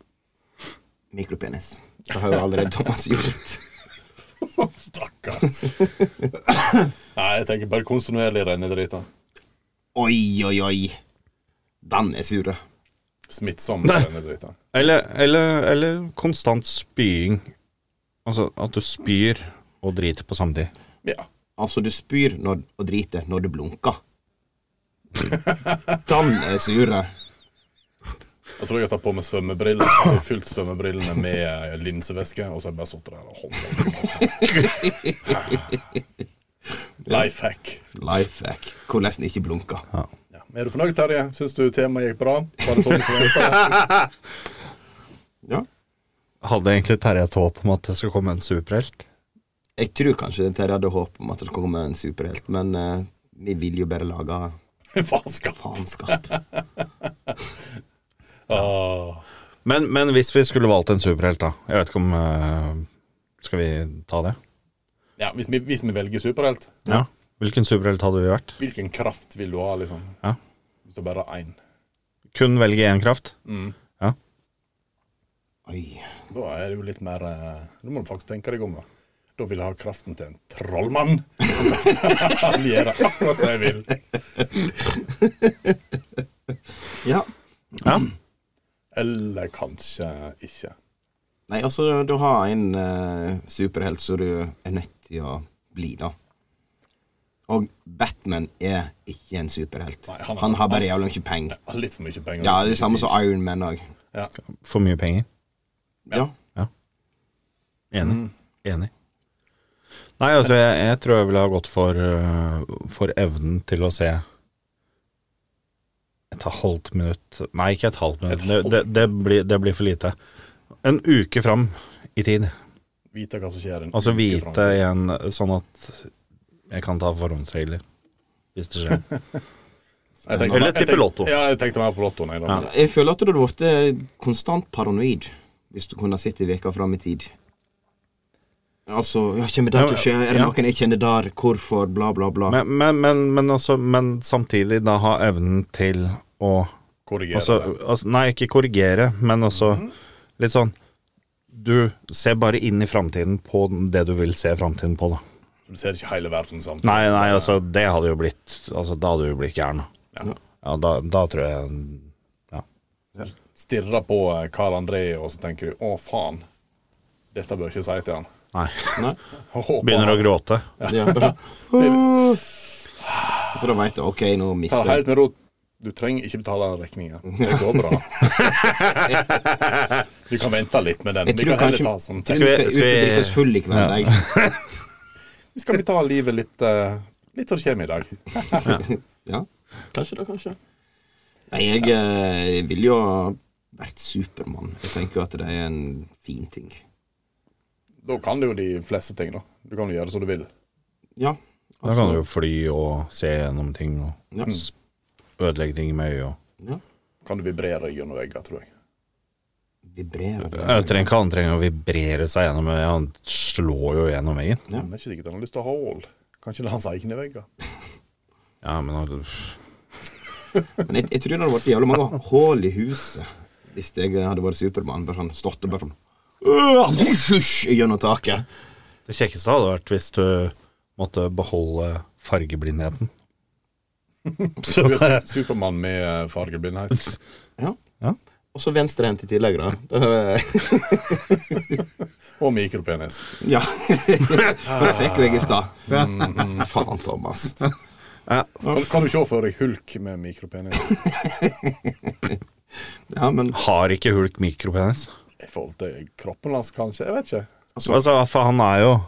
mikropenis. Det har jo allerede Thomas gjort.
Stakkars. Nei, jeg tenker bare kontinuerlig renne dritt. da.
Oi, oi, oi. Den er sur.
Smittsom renne dritt. da.
Eller, eller, eller konstant spying. Altså at du spyr og driter på samme tid.
Ja.
Altså, du spyr når, og driter når du blunker. Den er sur.
Jeg tror jeg har tatt på meg svømmebriller. Så jeg har fylt svømmebrillene med eh, linsevæske, og så har jeg bare sittet der og holdt på. Life hack.
Life hack. Hvordan ikke blunke.
Ja. Er du fornøyd, Terje? Syns du temaet gikk bra? Var det sånn du forventa?
Ja.
Hadde egentlig Terje et håp om at det skulle komme en superhelt?
Jeg tror kanskje Terje hadde håp om at det skulle komme en superhelt, men eh, vi vil jo bare lage
Faenskap.
faenskap.
Åh.
Men, men hvis vi skulle valgt en superhelt, da? Jeg vet ikke om eh, Skal vi ta det?
Ja, hvis vi, hvis vi velger superhelt,
Ja. Hvilken superhelt hadde vi vært?
hvilken kraft vil du ha, liksom?
Ja.
Hvis du bare har én. Mm.
Kun velge én kraft?
Oi.
Da er det jo litt mer eh, Da må du faktisk tenke deg om. Da Da vil jeg ha kraften til en trollmann. Han gjør det akkurat som jeg vil.
Ja.
Eller kanskje ikke.
Nei, altså, du har en eh, superhelt som du er nødt til å bli, da. Og Batman er ikke en superhelt.
Nei, han
han,
er-
har bare jævla mye penger.
Jeg har Litt for mye penger.
Ja, det
litt for
er
mye
samme som
tid.
Iron Man òg.
Ja.
For mye penger?
Ja.
Mm.
Enig. Enig. Nei, altså, jeg, jeg tror jeg ville ha gått for, eh, for evnen til å se et halvt minutt Nei, ikke et halvt minutt. Det, det, det, blir, det blir for lite. En uke fram i tid.
Vite hva som skjer. en
Altså
uke
vite
fram.
igjen, sånn at jeg kan ta forhåndsregler hvis det skjer.
Jeg tenkte-
Eller
jeg tenkte-
tippe lotto.
Ja, jeg tenkte mer på lotto. Nei, da.
Ja.
Jeg føler at du hadde blitt eh, konstant paranoid hvis du kunne sett i veka fram i tid. Altså, ja, kommer det til å skje? Er det
Ja.
noen jeg kjenner der? Hvorfor? Bla, bla, bla.
Men, men, men, men, altså, men samtidig da ha evnen til å
Korrigere.
Altså, altså, nei, ikke korrigere, men også
Mhm.
litt sånn Du ser bare inn i framtiden på det du vil se framtiden på, da.
du ser ikke hele verden sånn. samtidig.
Nei, nei, altså, det hadde jo blitt Altså, da hadde du blitt gæren. Ja, ja da, da tror jeg Ja.
Stirrer på eh, Karl André, og så tenker du 'å, faen'. Dette bør jeg ikke si til han.
Nei.
Håper
Begynner å
han
gråte.
Ja, bra. Så da veit du OK, nå
tar
mister jeg
helt med ro. Du trenger ikke betale den regninga. Det går bra. Du kan vente litt med den.
Jeg
Vi
tror
kan heller
kanskje-
ta sånn.
Jeg tror vi skal
Skal vi-
ut og drikke oss full i kveld, jeg.
Vi skal betale livet litt eh, Litt som det kommer i dag.
Ja. Kanskje det, kanskje. Nei, jeg, eh, jeg vil jo ha vært Supermann. Jeg tenker jo at det er en fin ting.
Da kan du jo de fleste ting, da. Du kan jo gjøre som du vil.
Ja.
Da kan du jo fly og se gjennom ting og
Altså- ja.
ødelegge ting med øyet. og-
Kan du vibrere gjennom vegger, tror jeg.
Vibrerer.
Jeg trenger ikke han trenger å vibrere seg gjennom øyet, han slår jo gjennom veggen.
Ja.
Men det er ikke sikkert han har lyst til å ha hull. Kanskje det er hans egne vegger.
Ja, men altså, han-
Men jeg, jeg tror det hadde vært jævlig mange hull i huset hvis jeg hadde vært Supermann. Bare sånn stått og bare sånn øh, Gjennom taket.
det kjekkeste hadde vært hvis du måtte beholde fargeblindheten. Så,
Du er su- Supermann med eh, fargeblindhet.
Og så venstrehendt i tillegg, da. Det-
Og mikropenis.
Ja. For det fikk jo jeg i stad. Mm, Faen, Thomas.
Kan, kan du se for deg hulk med mikropenis?
Ja, men
har ikke Hulk mikropenis?
I forhold til kroppen hans, kanskje? Jeg vet ikke.
Altså, for han er jo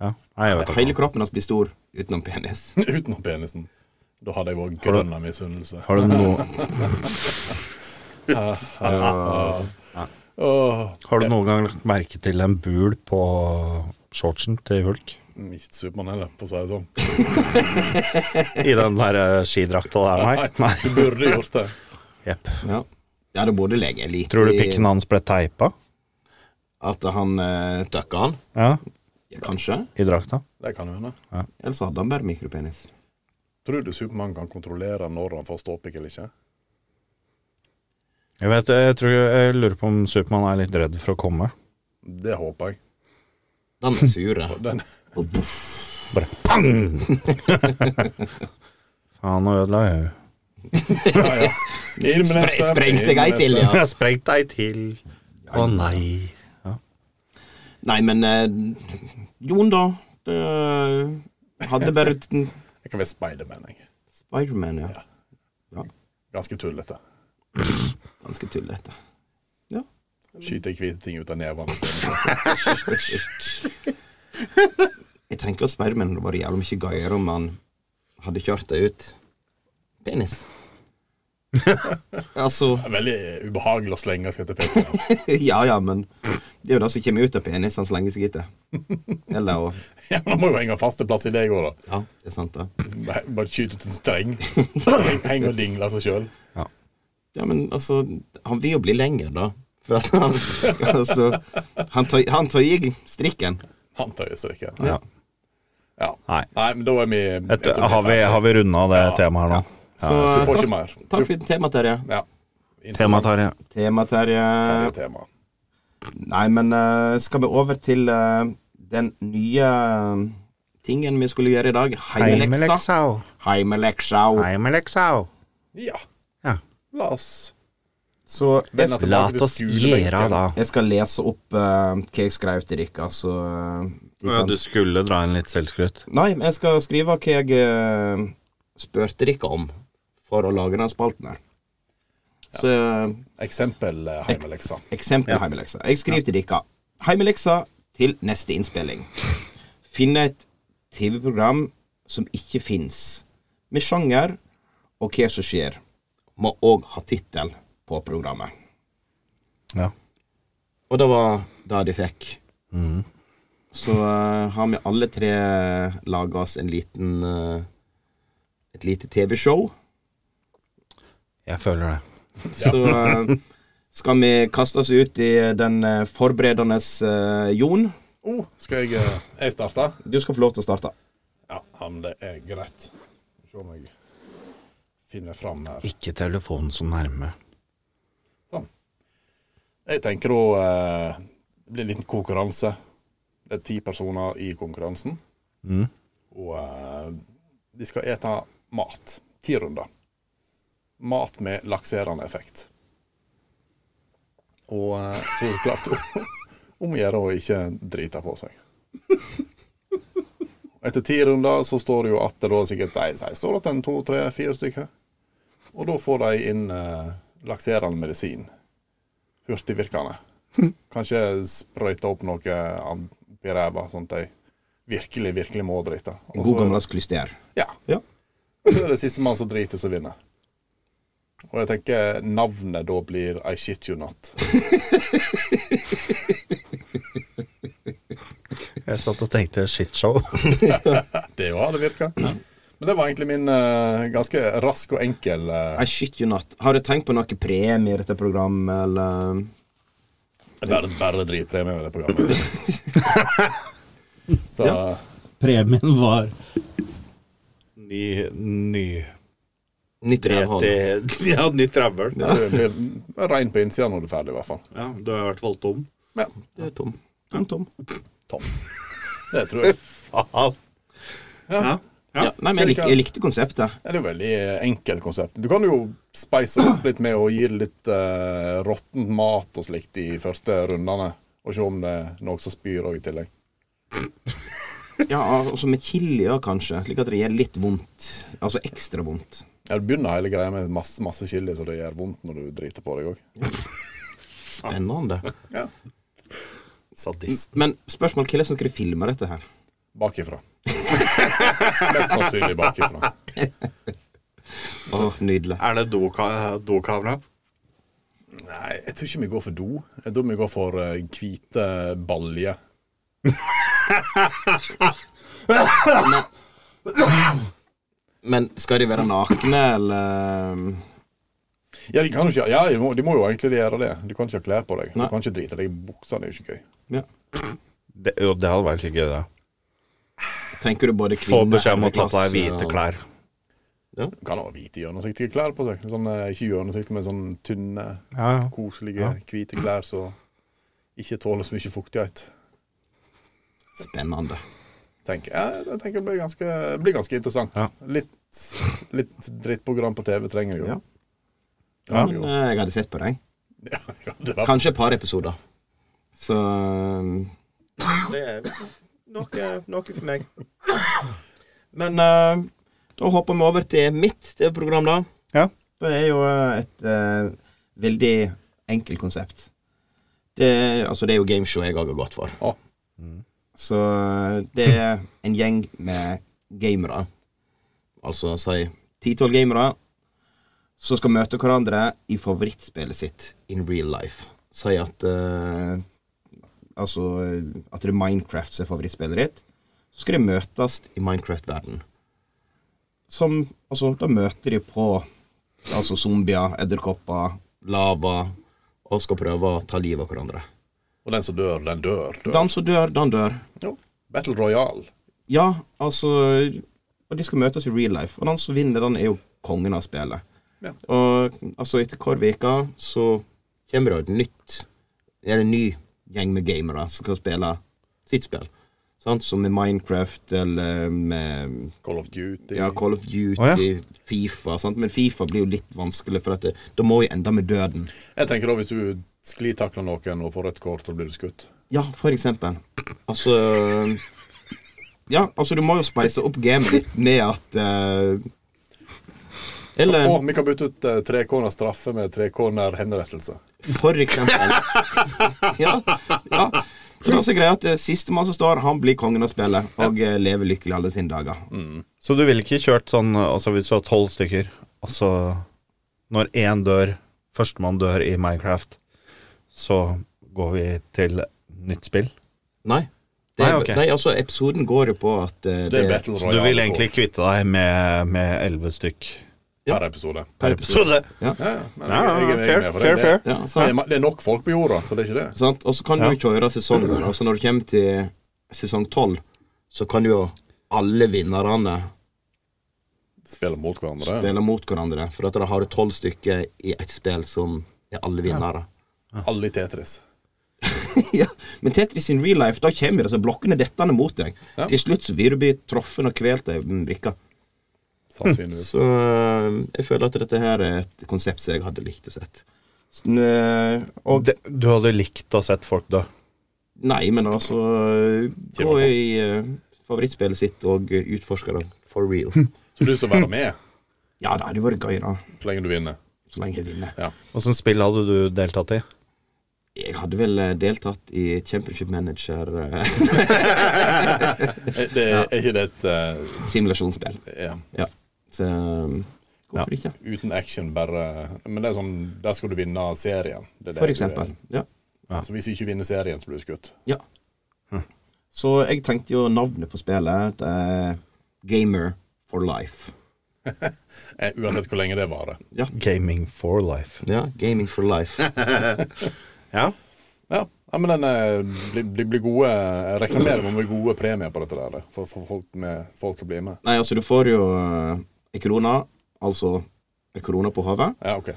Ja, nei, jeg vet ikke.
hele kroppen hans blir stor utenom penis.
Utenom penisen. Da hadde jeg vært grønn av misunnelse.
Har du, noe,
Åh,
har du noen gang lagt merke til en bul på shortsen til Hulk?
ikke Supermann heller, for å si det sånn.
I den der eh, skidrakta der, nei? nei.
Du burde gjort det.
Jepp.
Ja, ja det burde lege like
Tror du pikken hans ble teipa?
At han uh, tøkka han,
Ja,
ja, kanskje.
i drakta?
Det kan jo hende.
Eller så hadde han bare mikropenis.
Tror du Supermann kan kontrollere når han får ståpikk eller ikke?
Jeg vet, jeg, tror, jeg lurer på om Supermann er litt redd for å komme.
Det håper jeg.
Den er sure.
Og Den,
Og boff.
Bare pang! Faen, nå ødela jeg jo.
ja, ja. Inn med
Spre-
neste,
Sprengte
inn
jeg
med
ei
neste.
til, ja.
Jeg sprengte ei til. Å nei.
Nei, men eh, Jon, da. Det eh, hadde bare uten
Jeg kan være Spiderman, jeg.
Spiderman, ja.
Ganske tullete.
Ganske tullete.
Skyter hvite ting ut av nevene. i stedet.
Jeg tenker at Spiderman hadde vært jævlig mye gøyere om han hadde kjørt det ut. Penis. altså
Det er Veldig ubehagelig å slenge seg etter Peter.
Ja ja, men det er jo det som kommer ut av penis, han slenger seg etter. Eller å
Ja, men Han må jo henge fast en plass i deg òg, da.
Ja, det er sant, det.
Bare bare skyte ut en streng. Heng- Henge og dingle seg sjøl.
Ja, men altså Han vil jo bli lenger, da. For at han Altså Han, tøy, han tøyer strikken.
Han tøyer seg ikke.
Ja.
Ja.
Nei.
Nei, men da er vi eh,
Et, har vi, har vi runda det temaet her nå?
Så eh,
Du får
takk,
ikke mer.
takk for temaet, Terje.
Ja.
Temaet her, ja.
Tema, Terje.
Interessant Tema.
Nei, men eh, skal vi over til eh, den nye eh, tingen vi skulle gjøre i dag? Heimeleksa.
Heimeleksa.
Heimeleksa.
Heimeleksa.
Ja.
Ja.
La oss
Så jeg,
vende
La
tilbake til
oss gjøre
skolebenken.
da.
jeg skal lese opp eh, hva jeg skrev til dere, så eh, de kan-
Du skulle dra inn litt selvskryt.
Nei, men jeg skal skrive hva jeg eh, spurte dere om for å lage den spalten her. Så eh,
Eksempel eh, heimeleksa.
eksempel heimelekser. Jeg skriver til dere. Heimelekser til neste innspilling. Finne et TV-program som ikke fins, med sjanger og hva som skjer. Må òg ha tittel på programmet.
Ja.
Og det var det de fikk. Så eh, har vi alle tre laga oss en liten eh, et lite TV-show.
Jeg føler det.
Så eh, skal vi kaste oss ut i den eh, forberedende eh, Jon.
Oh, skal jeg eh, Jeg starte?
Du skal få lov til å starte.
Ja, ja, men det er greit. Skal vi Se om jeg finner fram her.
Ikke telefonen så nærme.
Jeg tenker å eh, Det blir en liten konkurranse. Det er ti personer i konkurransen.
Mm.
Og eh, de skal ete mat. Ti runder. Mat med lakserende effekt. Og eh, så er det klart om- om å gjøre å ikke drite på seg. Etter ti runder så står det jo at det da sikkert nei, nei, står det at en to, tre, fire stykker. Og da får de inn eh, lakserende medisin. Hurtigvirkende. Kanskje sprøyte opp noe an- oppi ræva, sånn at de virkelig, virkelig må drite. Og
God
så-
gammeldags klyster.
ja.
Ja.
Så er det sistemann som driter, som vinner. Og jeg tenker navnet da blir I shit you not.
Jeg satt og tenkte shitshow.
Det jo hadde virka. Men det var egentlig min eh, ganske rask og enkel eh,
I shit you not. Har du tenkt på noe premie i dette programmet, eller
Bare, bare dritpremie med det programmet. Så eh,
Premien var
Ny, ny
Nytt revhold.
Ja, nytt rævhøl.
det blir rein på innsida når du er ferdig, i hvert fall.
Ja, du har vært valgt om.
Ja,
Det er tom. Tom, tom.
Tom. Det tror jeg.
Faen.
Ja.
Ja, nei, men jeg, lik, jeg likte konseptet.
Det er jo et veldig enkelt konsept. Du kan jo speise opp litt med å gi det litt uh, råttent mat og slikt i første rundene. Og se om det er noe som spyr òg i tillegg.
Ja, altså med chili òg, kanskje. Slik at det gjør litt vondt. Altså ekstra vondt.
Ja, Du begynner hele greia med masse masse chili, så det gjør vondt når du driter på deg òg.
Spennende.
Sadist.
Men spørsmål hvordan skal du filme dette her?
Bakifra. Mest sannsynlig bakifra.
Åh, nydelig.
Er det doka- dokamera?
Nei, jeg tror ikke vi går for do. Jeg tror vi går for eh, hvite baljer.
Men skal de være nakne, eller
Ja, de, kan jo ikke, ja de, må, de må jo egentlig gjøre det. Du kan ikke ha klær på deg.
Nei.
Du kan ikke drite deg i buksa. Det er jo ikke gøy.
ja.
Det, jo, det hadde vært litt gøy, det.
Tenker du både
Få
kvinne
beskjed om å ta på deg
klasse,
hvite
og-
klær.
Du kan ha hvite gjennomsiktige klær på seg. Sånn, eh, ikke gjennomsiktige, men sånn tynne,
Ja, ja.
koselige
Ja.
hvite klær som ikke tåler så mye fuktighet.
Spennende.
Tenker, jeg, jeg tenker det blir ganske, det blir ganske interessant.
Ja.
Litt, litt drittprogram på TV trenger jeg jo.
Ja.
Ja,
Men
jo.
eh, jeg hadde sett på deg.
Ja, ja, det var-
Kanskje et par episoder. Så um, Det er noe, noe for meg. Men eh, da hopper vi over til mitt TV-program, da.
Ja.
Det er jo eh, et eh, veldig enkelt konsept. Det, altså, det er jo gameshow jeg òg har gått for.
Å.
Så uh, det er en gjeng med gamere. Altså si ti-tolv gamere som skal møte hverandre i favorittspillet sitt in real life. Si at eh, Altså at det er Minecraft som er favorittspillet ditt. Så skal de møtes i Minecraft-verden. Som Altså, da møter de på altså zombier, edderkopper, lava, og skal prøve å ta livet av hverandre.
Og den som dør, den dør. dør.
Den som dør, den dør.
Jo. Battle Royale.
Ja, altså Og de skal møtes i real life. Og den som vinner, den er jo kongen av spillet.
Ja.
Og altså, etter hver uke så kommer det jo et nytt Er det en ny gjeng med gamere som skal spille sitt spill. Sant? Som med Minecraft eller med
Call of Duty.
ja, Call of Duty,
Å,
Fifa. Sant? Men Fifa blir jo litt vanskelig, for at det, da må jo enda med døden.
Jeg tenker da Hvis du sklitakler noen og får rødt kort, så blir du skutt.
Ja, for eksempel. Altså Ja, altså, du må jo speise opp gamet ditt med at eh, Eller
Og vi kan bytte ut eh, trekorner straffe med trekorner henrettelse.
For eksempel. ja. ja. Men altså greia at eh, Sistemann som står, han blir kongen av spillet og eh, lever lykkelig alle sine dager.
Så du ville ikke kjørt sånn Altså hvis du har tolv stykker Altså Når én dør Førstemann dør i Minecraft Så går vi til nytt spill
Nei. Det,
Nei, ok.
nei, altså, episoden går jo på at eh,
Så det
det,
er Battle
Så
Royale
du vil egentlig kvitte deg med Med elleve stykk
per episode.
per episode
Ja, ja, men
Ja,
jeg- jeg er
fair,
med for det.
fair,
Det-
fair
ja,
Det,
sant?
er ma- det er nok folk på jorda, så det er ikke det.
sant? Og så kan du
Ja.
jo kjøre sesongen. Altså når du kommer til sesong tolv, så kan jo alle vinnerne
Spiller mot hverandre.
spille mot hverandre. For at da har du tolv stykker i ett spill som er alle vinnere.
Alle i Tetris.
Ja. Men Tetris in real life, da kommer det så blokkene dettende mot deg.
Ja.
Til slutt så vil du bli truffet og kvelt av en brikke.
Sannsynligvis.
Så øh, jeg føler at dette her er et konsept som jeg hadde likt å sett. Så, øh,
Og det, du hadde likt å sett folk dø
Nei, men altså øh, Gå i øh, favorittspillet sitt og øh, utforske det for real.
Så du som være med
Ja, det hadde vært gøy, da.
så lenge du vinner.
Så lenge jeg vinner.
Hvordan spill hadde du deltatt i?
Jeg hadde vel øh, deltatt i Championship Manager øh,
Er, det, er ikke det et eh,
simulasjonsspill.
ja.
Ja. eh, Hvorfor ikke?
Uten action, bare Men det er sånn, der skal du vinne serien. Det er det
For
du-
eksempel. Ja.
Så hvis du ikke vinner serien, så blir du skutt.
Hm. Så jeg tenkte jo navnet på spillet. Det er Gamer for life.
Eh, Uansett hvor lenge det varer.
Gaming for life.
Ja, Gaming for life.
Ja.
Ja, ja men den eh, blir, blir, blir gode Jeg regner med det må bli gode premier på dette der, for, for folk, med, folk å bli med.
Nei, altså, du får jo eh, ei krone, altså ei krone på hodet,
Ja, ok.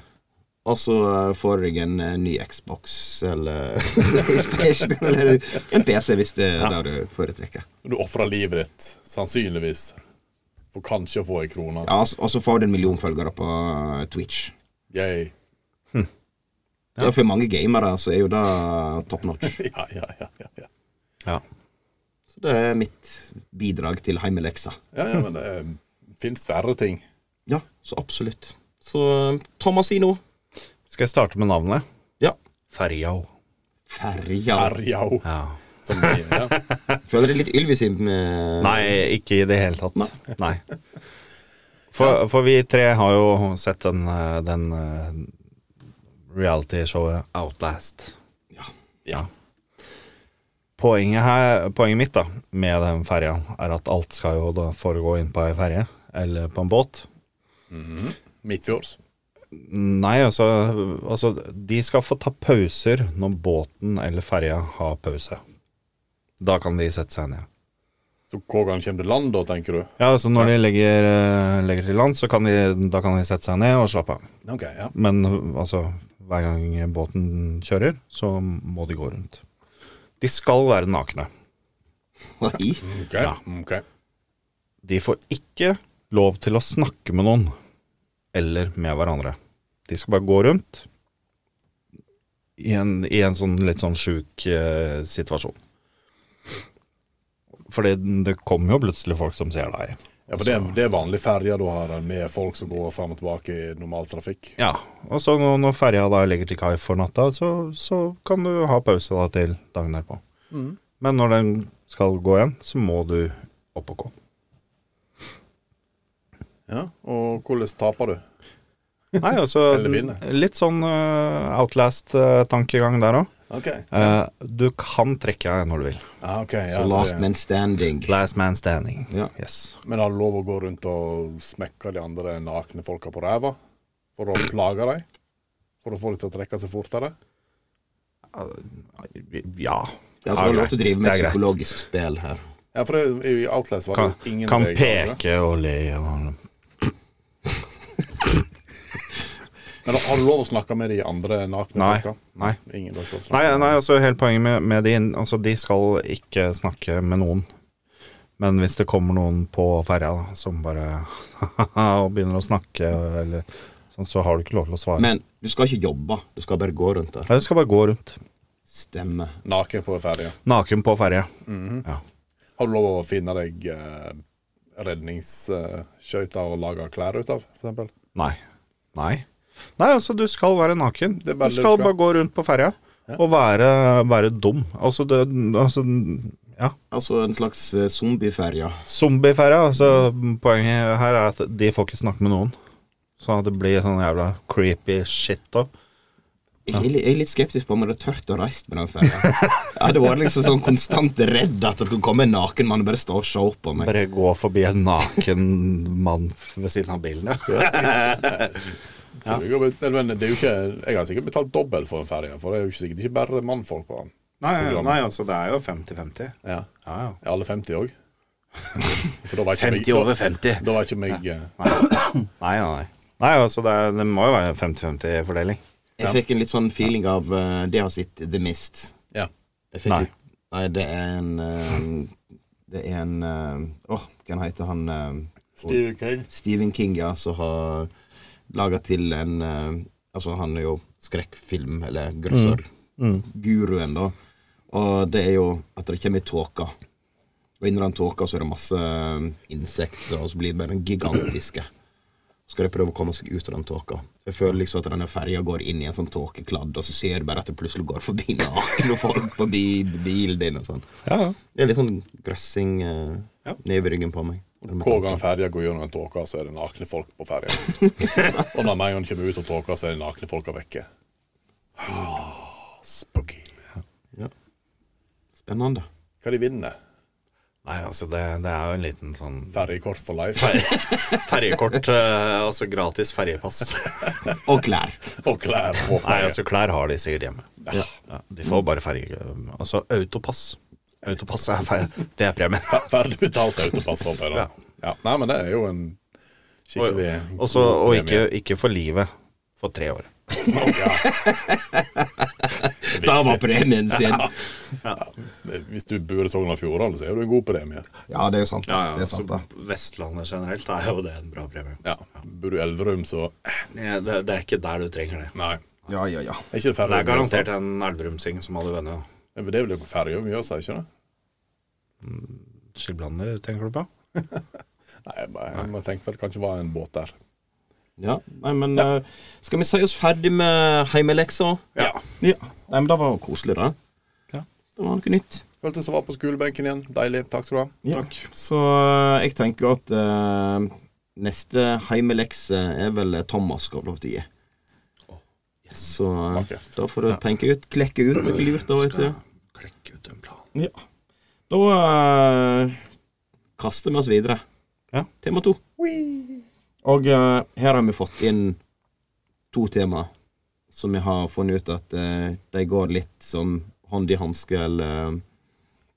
og så eh, får jeg en eh, ny Xbox eller PlayStation eller en PC, hvis det er det du foretrekker.
Du ofrer livet ditt, sannsynligvis, for kanskje å få ei krone.
Ja, altså- Og så får du en million følgere på eh, Twitch.
Yay.
Det er For mange gamere så er jo det top notch.
Ja, ja, ja, ja, ja.
Så det er mitt bidrag til heimeleksa.
ja, ja men det fins verre ting.
Ja, så absolutt. Så um, Tomasino.
Skal jeg starte med navnet?
Ja.
Ferjao.
Ferja.
Arjau.
Ja.
Som vi, ja.
Føler det litt Ylvis i med
Nei, ikke i det hele tatt. Nei. For, for vi tre har jo sett den, eh, den eh, reality-showet Outlast.
Ja.
Ja. Poenget, her, poenget mitt da, med den ferja er at alt skal jo da foregå inn på ei ferje eller på en båt.
Midtfjords.
Nei, altså, altså De skal få ta pauser når båten eller ferja har pause. Da kan de sette seg ned.
Så hvor gang kommer det land, da, tenker du?
Ja, altså Når de legger, eh, legger til land, så kan de, da kan de sette seg ned og slappe av.
Ok, ja.
Men altså, hver gang båten kjører, så må de gå rundt. De skal være nakne.
Nei.
Mm, Ok,
Ja.
ok.
De får ikke lov til å snakke med noen eller med hverandre. De skal bare gå rundt i en, i en sånn litt sånn sjuk eh, situasjon. Fordi det kommer jo plutselig folk som ser deg.
Ja, for det, er- det er vanlig ferje du har, med folk som går fram og tilbake i normal trafikk.
Ja, og så når, når ferja da legger til kai for natta, så, så kan du ha pause da til dagen derpå.
Mm.
Men når den skal gå igjen, så må du opp og gå.
Ja, Og hvordan taper du?
Nei, altså
Eller vinne.
litt sånn eh, Outlast-tankegang der òg.
Ok.
du kan trekke deg når du vil.
Ja, ok, ja,
Så
så
last
det-
man standing.
Last man standing.
Ja.
Yes.
Men har du lov å gå rundt og smekke de andre nakne folka på ræva? For å plage dem? For å få dem til å trekke seg fortere?
Ja.
Ja, så har du altså lov til å
greit.
drive med
Det er greit.
psykologisk spill her.
Ja, for det, i Outlast var
Kan,
det jo ingen
kan
regler, altså.
peke og le. og-
Men har du lov å snakke med de andre nakne
Nei.
folka?
Nei.
Ingen lov til å snakke
Nei,
med
nei,
dem.
altså hele poenget med, med de Altså de skal ikke snakke med noen Men hvis det kommer noen på ferja da Som bare Og begynner å snakke eller, sånn, Så har du ikke lov til å svare
Men du skal ikke jobbe, du skal bare gå rundt der.
Nei, du skal bare gå rundt
Stemme.
Naken på ferja.
Naken på ferja ja.
Har du lov å finne deg eh, redningsskøyter og lage klær ut av, for eksempel?
Nei Nei Nei, altså du skal være naken
Det er
Du
bare
skal,
det du skal.
bare gå rundt på ferja Og være, være dum Altså, det, altså ja.
Altså en slags eh, zombieferja.
Zombieferja altså, Poenget her er at de får ikke snakke med noen Sånn at det blir sånn jævla creepy shit da
Jeg, er li- jeg er litt skeptisk på om jeg hadde tørt å reise med den ferja. Jeg hadde vært liksom sånn konstant redd at det skulle komme en naken mann og bare stå og se på meg.
Bare gå forbi en naken mann f- ved siden av bilen. Ja.
Så det går- Men det er jo ikke, jeg har sikkert betalt dobbelt for en ferje, for det er jo ikke sikkert ikke bare mannfolk på den.
Nei, altså, det er jo 50-50.
Ja.
Ja, ja.
Er alle 50 òg? For da var ikke 50 over 50. Da var ikke meg eh,
Nei, nei, nei. Nei, altså, det, er, det må jo være 50-50-fordeling.
Jeg fikk en litt sånn feeling av eh, det å ha sett The Mist.
Ja.
Jeg fikk
Nei.
litt Nei, det er en eh, Det er en eh, Åh, hva heter han? eh,
Steve King.
Stephen King, ja, som har laga til en eh, Altså, han er jo skrekkfilm, eller grøsser. Guruen, da. Og det er jo at det kommer ei tåke. Og inni den tåka så er det masse eh, insekter, og så blir det bare gigantiske. Så skal de prøve å komme seg ut av den tåka. Jeg føler liksom at denne ferja går inn i en sånn tåkekladd, og så ser du bare at det plutselig går forbi nakne folk forbi bilen din og sånn.
Ja, ja.
Det er litt sånn grøssing eh,
Ja.
ned i ryggen på meg.
Hver gang ferja går gjennom en tåke, så er det nakne folk på ferja. og når Mayon kommer ut av tåka, så er det nakne folka vekke. Ah, spooky.
Spennende.
Hva de vinner?
Nei, altså, det, det er jo en liten sånn
Ferjekort for life
Ferjekort, eh, altså gratis ferjepass.
Og klær.
og klær. Og
Nei,
ferje.
altså klær har de sikkert hjemme. Ja, de får bare ferje... Altså autopass. Autopass er ferje. Det er premien.
Fer- Ferdig betalt autopass. håper jeg da. Ja. Nei, men det er jo en
Og,
skikkelig
og så- og ikke, ikke for livet. For tre år.
ja.
Da var premien sin.
Hvis du bor i Sogn og Fjordane, så er du en god premie.
Ja, det er jo sant. da. det er
altså,
sant da.
Vestlandet generelt er jo det en bra premie.
Ja. Bor du i Elverum, så
Nei, Det, det er ikke der du trenger det.
Nei.
Ja, ja, ja.
Er ikke det ferje?
Det er garantert en elverumsing som hadde vunnet.
Men Det er vel ferje over Mjøsa, ikke det?
Skilblander, tenker du på?
Nei, jeg bare- jeg bare tenkte at det kanskje var en båt der.
ja. Nei, men eh, skal vi si oss ferdig med heimeleksa?
Ja.
Ja. Nei, men det var jo koselig, da.
Ja.
Det var noe nytt.
Følte som var på skolebenken igjen. Deilig. Takk skal du ha.
Ja. Så eh, jeg tenker jo at eh, neste heimelekse er vel Thomas skal få lov til å gi. Så eh,
Vakkert.
da får du tenke ut, klekke ut noe lurt, da, vet du.
Klekk ut en plan.
Ja. Da eh, kaster vi oss videre.
Ja.
Tema to. Og eh, her har vi fått inn to tema som vi har funnet ut at eh, de går litt som hånd i hanske eller eh,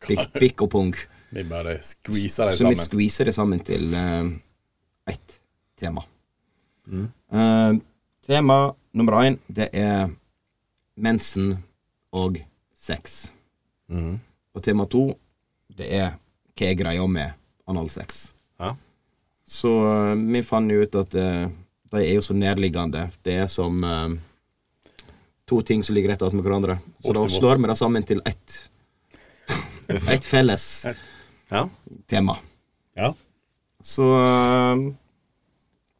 pikk, pikk og pung.
Vi bare skviser deg
Så vi
sammen.
skviser det sammen til eh, ett tema. Eh, tema nummer én, det er mensen og sex.
Mm.
Og tema to, det er hva er greia med analsex.
Ja.
Så eh, vi fant jo ut at eh, de er jo så nærliggende. Det er som eh, to ting som ligger rett attmed hverandre. Så da
Bortimot.
slår vi det sammen til ett. Et felles
Ja.
tema.
Ja.
Så eh,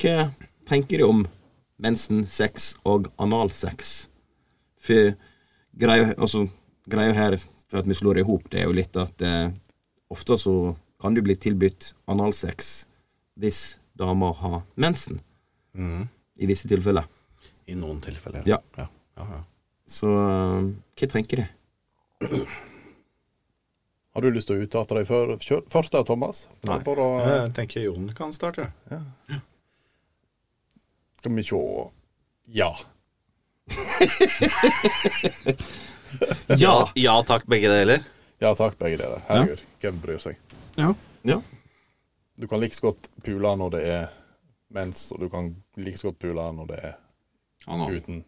hva tenker du om mensen, sex og analsex? For greia, altså, greia her, for at vi slår det i hop, det er jo litt at eh, ofte så kan du bli tilbudt analsex hvis dama har mensen. I visse tilfeller.
Mm. I noen tilfeller.
Ja.
ja. ja, ja.
Så eh, hva tenker du?
Har du lyst til å uttale deg før, kjør- først der, Thomas?
Nei.
For å,
Jeg tenker Jon kan starte.
skal vi sjå Ja.
Ja!
Ja takk, begge deler.
Ja takk, begge dere. Herregud, hvem bryr seg?
ja.
Du kan like så godt pule når det er mens, og du kan like så godt pule når det er uten.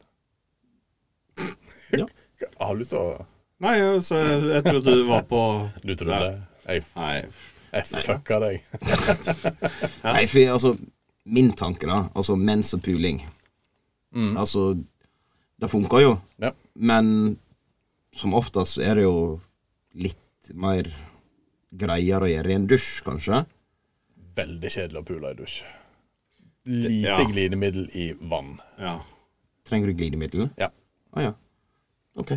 Ja.
Jeg har lyst til å
Nei, altså, jeg trodde du var på
Du trodde det? Jeg,
Nei.
jeg fucka deg.
Nei, for altså Min tanke, da. Altså mens og puling. Altså Det funker jo,
Ja.
men som oftest så er det jo litt mer greiere å gjøre i en dusj, kanskje.
Veldig kjedelig å pule i dusj. Lite
Ja.
glidemiddel i vann.
Ja.
Trenger du glidemiddel?
Ja.
Å ja. Ok.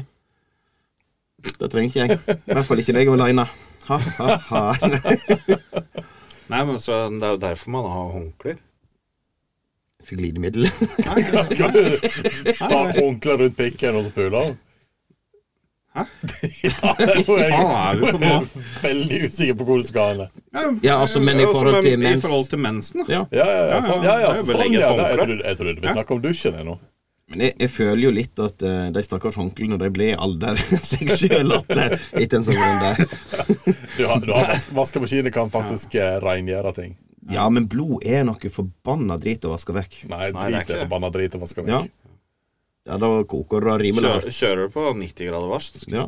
Det trenger ikke jeg. I hvert fall ikke deg aleine. Ha, ha, ha.
Nei, men så, Det er jo derfor man har håndklær.
For glidemiddel.
Hva skal du ta håndkleet rundt pikken og så pule?
Hæ?
Ja, det er jo jeg
Faen, er vi på nå?
veldig usikker på hvor du skal hen.
Ja, altså, men i
Ja, altså,
forhold til
men
mens-
I forhold til mensen, da.
Ja.
Ja, ja, ja. Sånn, ja, ja,
Det er jo bare å
sånn,
legge et
ja. Jeg
håndkle.
trodde, jeg trodde vi snakka om dusjen ennå.
Men jeg, jeg føler jo litt at eh, de stakkars håndklærne de ble i alder seg sjøl at eh, etter en sånn runde.
Du har, du har vask, vaskemaskiner kan faktisk eh, rengjøre ting.
Ja, men blod er noe forbanna drit å vaske vekk.
Nei, det
Nei,
er
drit i
ikke det.
forbanna drit og vaske
Ja.
vekk.
Ja, da koker det rimelig
Kjører,
hardt.
kjører du på 90 grader varst?
Ja.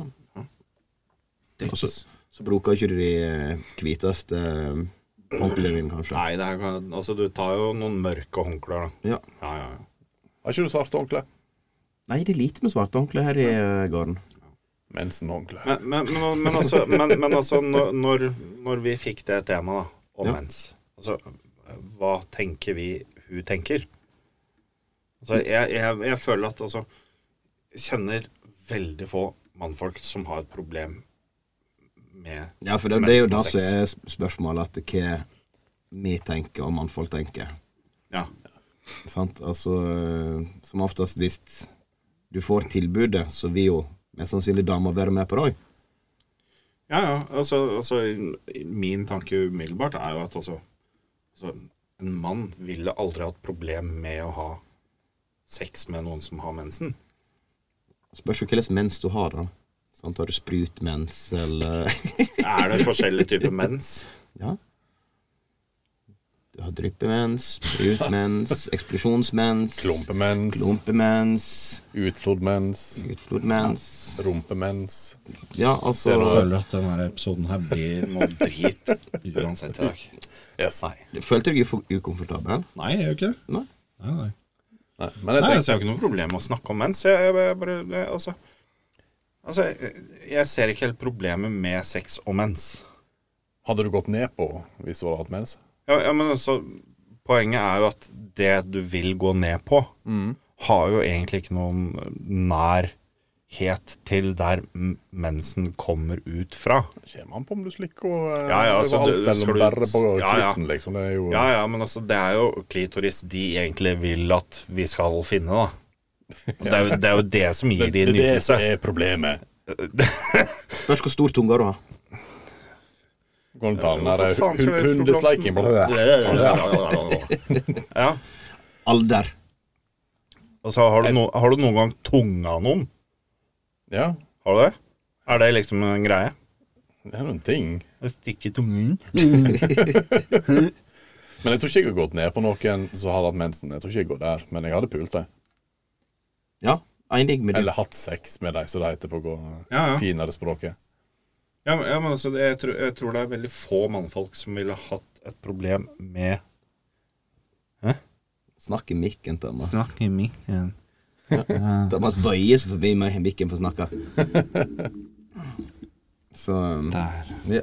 Og så, så bruker ikke du de eh, hviteste eh, håndklærne dine, kanskje.
Nei, det er, altså, du tar jo noen mørke håndklær, da.
Ja.
Ja, ja, ja.
Har ikke du svart håndkle?
Nei, det er lite med svarte håndklær her i eh, gården.
Mensen-håndkle.
Men, men, men, men altså, men, men altså når, når- når vi fikk det temaet da, om
Ja.
mens altså, Hva tenker vi hun tenker? Altså, jeg, jeg, jeg føler at altså jeg Kjenner veldig få mannfolk som har et problem med
Ja, for det, det er jo det
Mensen
som er sp- spørsmålet, at hva vi tenker, og mannfolk tenker.
Ja.
Sant? Altså, eh, som oftest hvis du får tilbudet, så vil jo mest sannsynlig dama være med på det òg.
Ja, ja. Altså, altså, min tanke umiddelbart er jo at altså, altså En mann ville aldri hatt problem med å ha sex med noen som har mensen.
Spørs jo hvilken mens du har, da. Sant? Har du sprutmens, eller
Er det forskjellige typer mens?
Ja. Du har dryppemens, sprutmens, eksplosjonsmens,
Klumpemens,
klumpemens,
utflodmens,
utflodmens
rumpemens.
Ja, altså
Det er noe-
Føler at denne episoden her blir noe drit uansett i dag.
Yes.
Nei.
Følte du deg for ukomfortabel?
Nei, jeg gjør ikke det.
Nei.
Nei, nei.
Nei, men
Nei,
jeg tenker
altså, jeg har ikke noe problem med å snakke om mens. Jeg, jeg, bare- jeg bare jeg, altså, altså, jeg- jeg ser ikke helt problemet med sex og mens.
Hadde du gått ned på hvis du hadde hatt mens?
Ja, ja, men altså, poenget er jo at det du vil gå ned på, har jo egentlig ikke noen nærhet til der m- mensen kommer ut fra.
Kommer an på om du slikker og eh,
Ja, ja,
det
altså,
var alt
det-
mellom
skal du-
bare på
Ja, ja.
klitten, liksom. Det er jo
Ja, ja, men altså, det er jo klitoris de egentlig vil at vi skal finne, da. Det er jo det, er jo det som
det,
gir
det
de
er det
nytelse.
som er problemet.
Spørs hvor stor tunga du har.
Går det an å ta
Hvorfor faen skal vi-
den eh, der
sånn?
hundesleiking på det?
Ja,
Alder.
og så har du, no, har du noen gang tunga noen?
Ja,
Har du det? Er det liksom en greie?
det er noen ting.
Stikke tungen
Men jeg tror ikke jeg har gått ned på noen som har hatt mensen. Jeg tror ikke jeg går der, men jeg hadde pult det.
Ja, enig med det.
Eller hatt sex med dem, som det heter på gå
Ja, ja.
finere språket.
Ja, men, ja, men altså, jeg, tror, jeg tror det er veldig få mannfolk som ville hatt et problem med
Snakk i mikken, Thomas.
Snakk i mikken.
Thomas bøyer seg forbi meg i mikken for å snakke. Så
Der.
ja.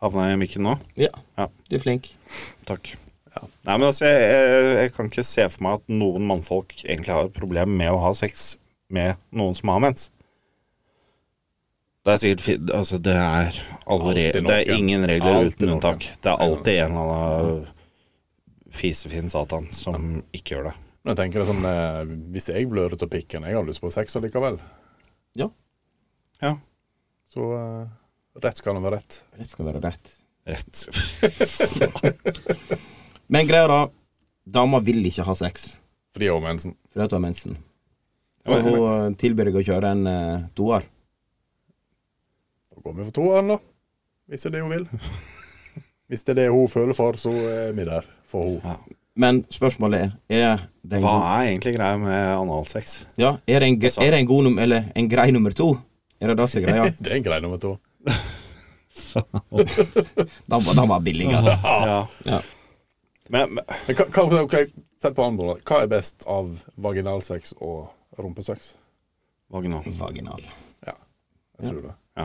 Havna jeg i mikken nå?
ja.
Ja.
Du er flink.
Takk. Nei, men altså, jeg, jeg, jeg kan ikke se for meg at noen mannfolk egentlig har et problem med å ha sex med noen som har mens. Det er sikkert fi- Altså, det er, alle
Alltid
re-
noe.
det er ingen regler
Alltid
uten
noe.
unntak. Det er alltid en eller annen fisefin satan som ikke gjør det.
Men jeg tenker det sånn, eh, Hvis jeg blør ut av pikken, jeg har lyst på sex allikevel.
Ja.
Ja.
Så eh, rett skal det være rett.
Rett skal være rett.
Rett.
Men greia da, dama vil ikke ha sex
For de har jo mensen.
fordi at hun har mensen. Så
Ja, men-
hun eh, tilbyr deg å kjøre en eh, toer.
Da går vi for toeren, da. Hvis det er det hun vil. Hvis det er det hun føler for, så er vi der for hun.
Men spørsmålet er Er det en,
Hva
god,
er egentlig greia med analsex?
ja, er det en,
Jeg sa-
gre- er det en god nummer Eller en grei nummer to? Er det det som er greia?
Det er en greie nummer to.
Dama, dama er billig, altså.
Ja.
Ja.
Men, men
Men hva, hva, ok, sett på andre, da. hva er best av vaginalsex og rumpesex?
vaginal.
Vaginal.
Jeg tror det.
Ja.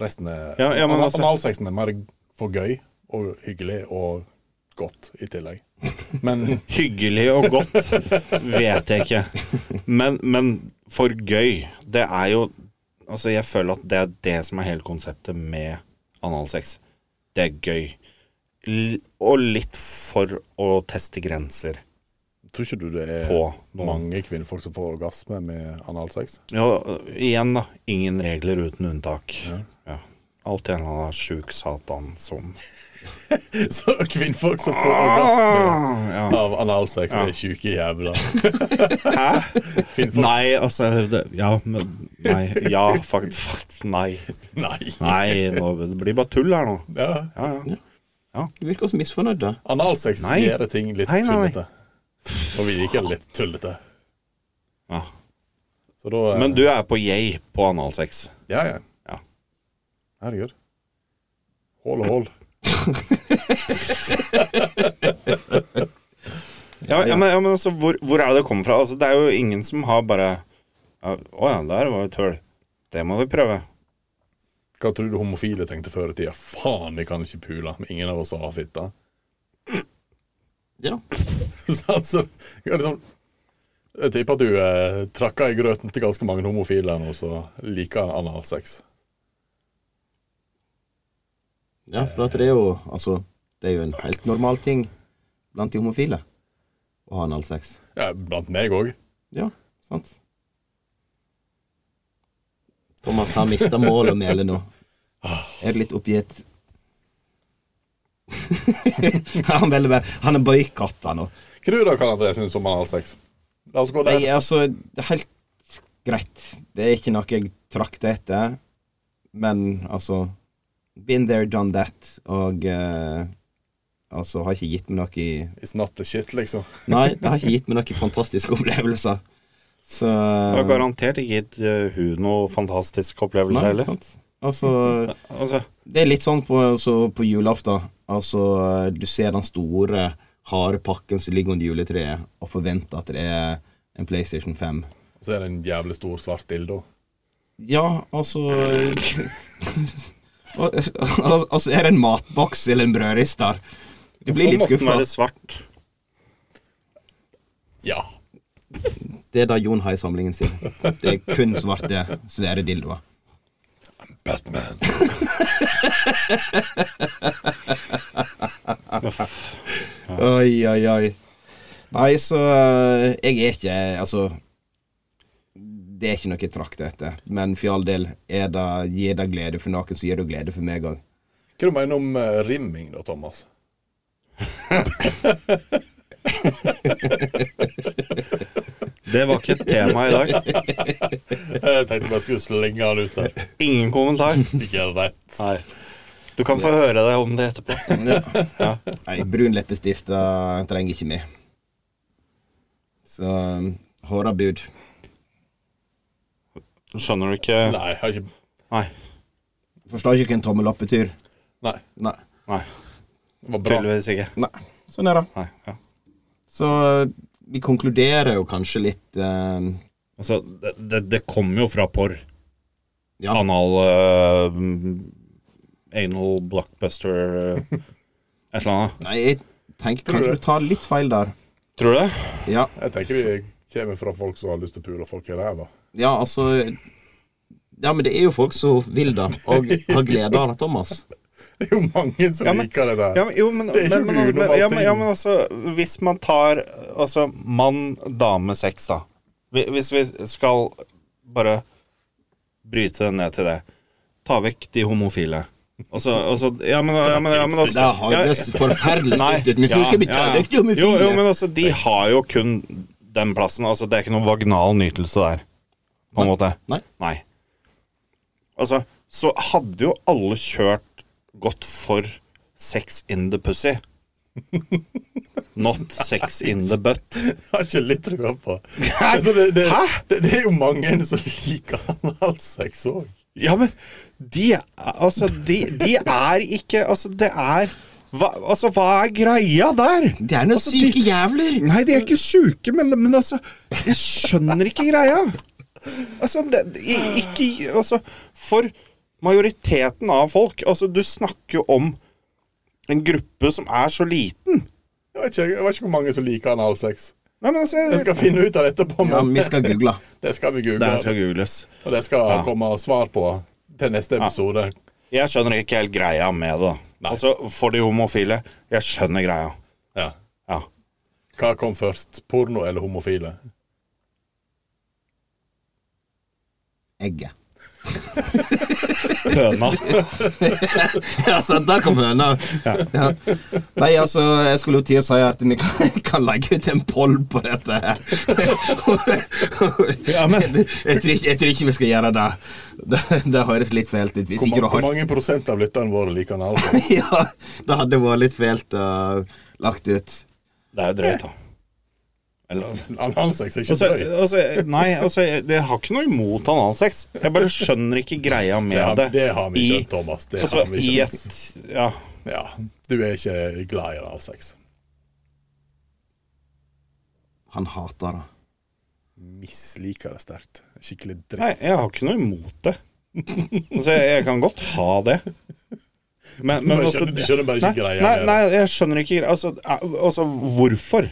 Resten er
Ja, ja, men
ana-
altså-
Analsexen er mer for gøy og hyggelig og godt i tillegg. Men
Hyggelig og godt vet jeg ikke. Men, men for gøy, det er jo Altså, jeg føler at det er det som er hele konseptet med analsex. Det er gøy. L og litt for å teste grenser
tror ikke du det er
på noen.
mange kvinnfolk som får orgasme med analsex?
Ja, igjen, da. Ingen regler uten unntak. Ja. Alltid en eller annen sjuk satan som
Så kvinnfolk som får orgasme
ja.
av analsex, er sjuke jævla.
Nei, altså det, Ja, men Nei. Ja, faktisk. Fakt, nei.
Nei.
Nei, nå, det blir bare tull her nå.
Ja.
Ja, ja.
Du virker så misfornøyd, da.
Analsex
Nei.
gjør ting litt
Nei, nei, nei.
tullete. Og vi liker litt tullete.
Ja.
Så da eh,
Men du er på yay på analsex.
Ja, ja.
Ja.
Herregud. Hål og hål.
Ja, ja, men, ja, men altså, hvor, hvor er det det kommer fra? Altså, det er jo ingen som har bare ja, Å ja, der var det tull. Det må vi prøve.
Hva tror du homofile tenkte før i tida? Faen, vi kan ikke pule. men Ingen av oss har fitte.
Ja.
Så altså, det er liksom, jeg tipper at du eh, trakka i grøten til ganske mange homofile nå som liker analsex.
Ja, for at det er jo Altså, Det er jo en helt normal ting blant de homofile å ha analsex.
Ja, blant meg òg.
Ja, sant? Thomas har mista målet med Elin nå. Er du litt oppgitt? han, velger bare, han er boikotta nå.
Hva du da, Karl André, syns om analsex? La oss gå
Nei,
der.
altså, det er helt greit. Det er ikke noe jeg trakter etter. Men altså Been there, done that. Og eh, altså har ikke gitt meg noe i
It's not the shit, liksom.
Nei, det har ikke gitt meg noen fantastiske opplevelser. Så
Det har garantert ikke gitt eh, hun noe fantastisk opplevelse
Nei,
heller.
sant? Altså,
Altså,
det er litt sånn på, så på julaften. Altså, du ser den store, harde pakken som ligger under juletreet, og forventer at det er en PlayStation 5.
Og så er det en jævlig stor svart dildo.
Ja, altså Al- al- Altså, er det en matboks eller en brødrister? Du blir litt
så Sånn måtte den
skuffa.
være svart.
Ja.
Det er da Jon har i samlingen sin. Det er kun svarte, svære dildoer.
Batman.
Oi, oi, oi. Nei, så eh, jeg er ikke Altså, det er ikke noe jeg trakter etter. Men for all del, er det, gir det glede for noen, så gir det glede for meg òg.
Hva du mener om eh, rimming, da, Thomas?
Det var ikke et tema i dag.
Jeg tenkte bare jeg skulle slenge han ut der.
Ingen kommentar.
Ikke rett.
Nei. Du kan få høre deg om det etterpå.
Nei, brun leppestift det trenger ikke meg. Så hårda bud.
Skjønner du ikke
Nei, jeg har ikke
Nei.
Forstår ikke en tommeloppetur.
Nei,
Nei.
Nei.
det var bra.
Tydeligvis ikke.
Nei. Sånn er det.
Nei, ja.
Så eh, vi konkluderer jo kanskje litt eh,
Altså, det, det, det kommer jo fra porr.
Ja.
Anal eh, Anal blockbuster eh, Et eller annet.
Nei, jeg tenker kanskje du tar litt feil der.
Tror du det?
Ja,
Jeg tenker vi kommer fra folk som har lyst til å pule folk i ræva.
ja altså Ja, men det er jo folk som vil det, og har glede av det, Thomas.
Det er jo mange som
Ja, men-
liker det der.
Ja, men, jo, men,
Det er ikke
men, men,
unormalt,
men, ja, men, ja,
ting.
men altså, hvis man tar Altså, mann-dame-sex, da. Hvi- Hvis vi skal bare bryte det ned til det. Ta vekk de homofile. Og så og så- Ja, men, ja, men, ja, men altså
Det høres forferdelig stygt ut, men så skal vi ta
ja, ja.
vekk de homofile.
Jo, jo, men altså, de har jo kun den plassen. Altså, det er ikke noen vaginal nytelse der, på en måte.
Nei.
Nei. Altså, så hadde jo alle kjørt godt for sex in the pussy. Not sex in the butt.
Jeg har ikke litt trua på altså, det. Det, det, det er jo mange som liker analsex òg.
Ja, men de Altså, de, de er ikke Altså, det er hva, altså, hva er greia der?
Det er noen
Altså, de-
syke jævler.
Nei, de er ikke sjuke, men, men altså Jeg skjønner ikke greia. Altså, det, i- ikke Altså, for majoriteten av folk Altså, du snakker jo om en gruppe som er så liten.
Jeg vet ikke, jeg vet ikke hvor mange som liker analsex.
Nei, men altså
Jeg skal finne ut av dette på
Ja, men vi skal google.
Det skal vi google,
Det skal googles.
og det skal komme svar på til neste episode.
Jeg skjønner ikke helt greia med det. da. Altså, for de homofile. Jeg skjønner greia.
Ja.
Ja.
Hva kom først, porno eller homofile?
Egget.
Høna.
Ja, sant, der kom høna. Ja. Nei, altså, jeg skulle jo til å si at vi kan, kan legge ut en poll på dette her. jeg, tror ikke, jeg tror ikke vi skal gjøre det. Det, det høres litt fælt ut. Hvis
Hvor,
ikke
ma
du
hvor
har
mange prosent av lytterne våre liker analsex?
Ja, det hadde vært litt fælt uh, lagt ut.
Det er jo drøyt, da. Eller
Analsex er ikke
Altså,
drøyt.
altså, nei, altså, jeg jeg har ikke noe imot analsex. Jeg bare skjønner ikke greia med
Ja,
det.
det har vi
I-
skjønt, Thomas. Det
Altså,
har vi
i
skjønt.
et Ja.
Ja, du er ikke glad i analsex.
Han hater det.
Misliker det sterkt. Skikkelig dritt.
Nei, jeg har ikke noe imot det. Altså, jeg, jeg kan godt ha det. Men, men
Bare
altså
skjønner- du skjønner bare ikke
nei,
greia
nei,
med det.
nei, jeg skjønner ikke greia. Altså, al- altså, hvorfor?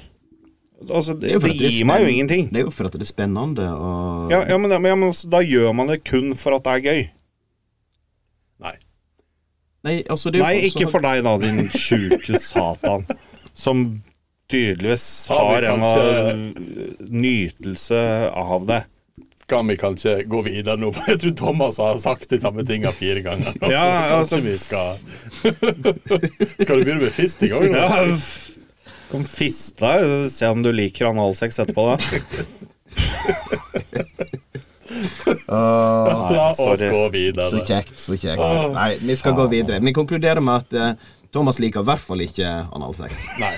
Altså, det,
jo for
det
at er
gir meg jo
spenn-
ingenting.
Det er jo for at det er spennende og
Ja, ja, men, ja, men altså, da gjør man det kun for at det er gøy.
Nei.
Nei, altså, det er jo
Nei,
folk som
ikke
har-
for deg da, din sjuke satan. Som tydeligvis
Har
har
vi
en
kanskje-
av- nytelse av det.
Kan vi kanskje gå videre nå? For jeg tror Thomas har sagt de samme tinga fire ganger. nå,
Ja,
så kanskje
altså-
vi skal Skal du begynne med fist i gang? nå?
Ja, f- Kom fist deg, se om du liker analsex etterpå, da.
La oss
sorry.
gå videre.
Så kjekt, så kjekt. Nei, vi skal gå videre. Vi konkluderer med at eh, Thomas liker i hvert fall ikke analsex.
Nei.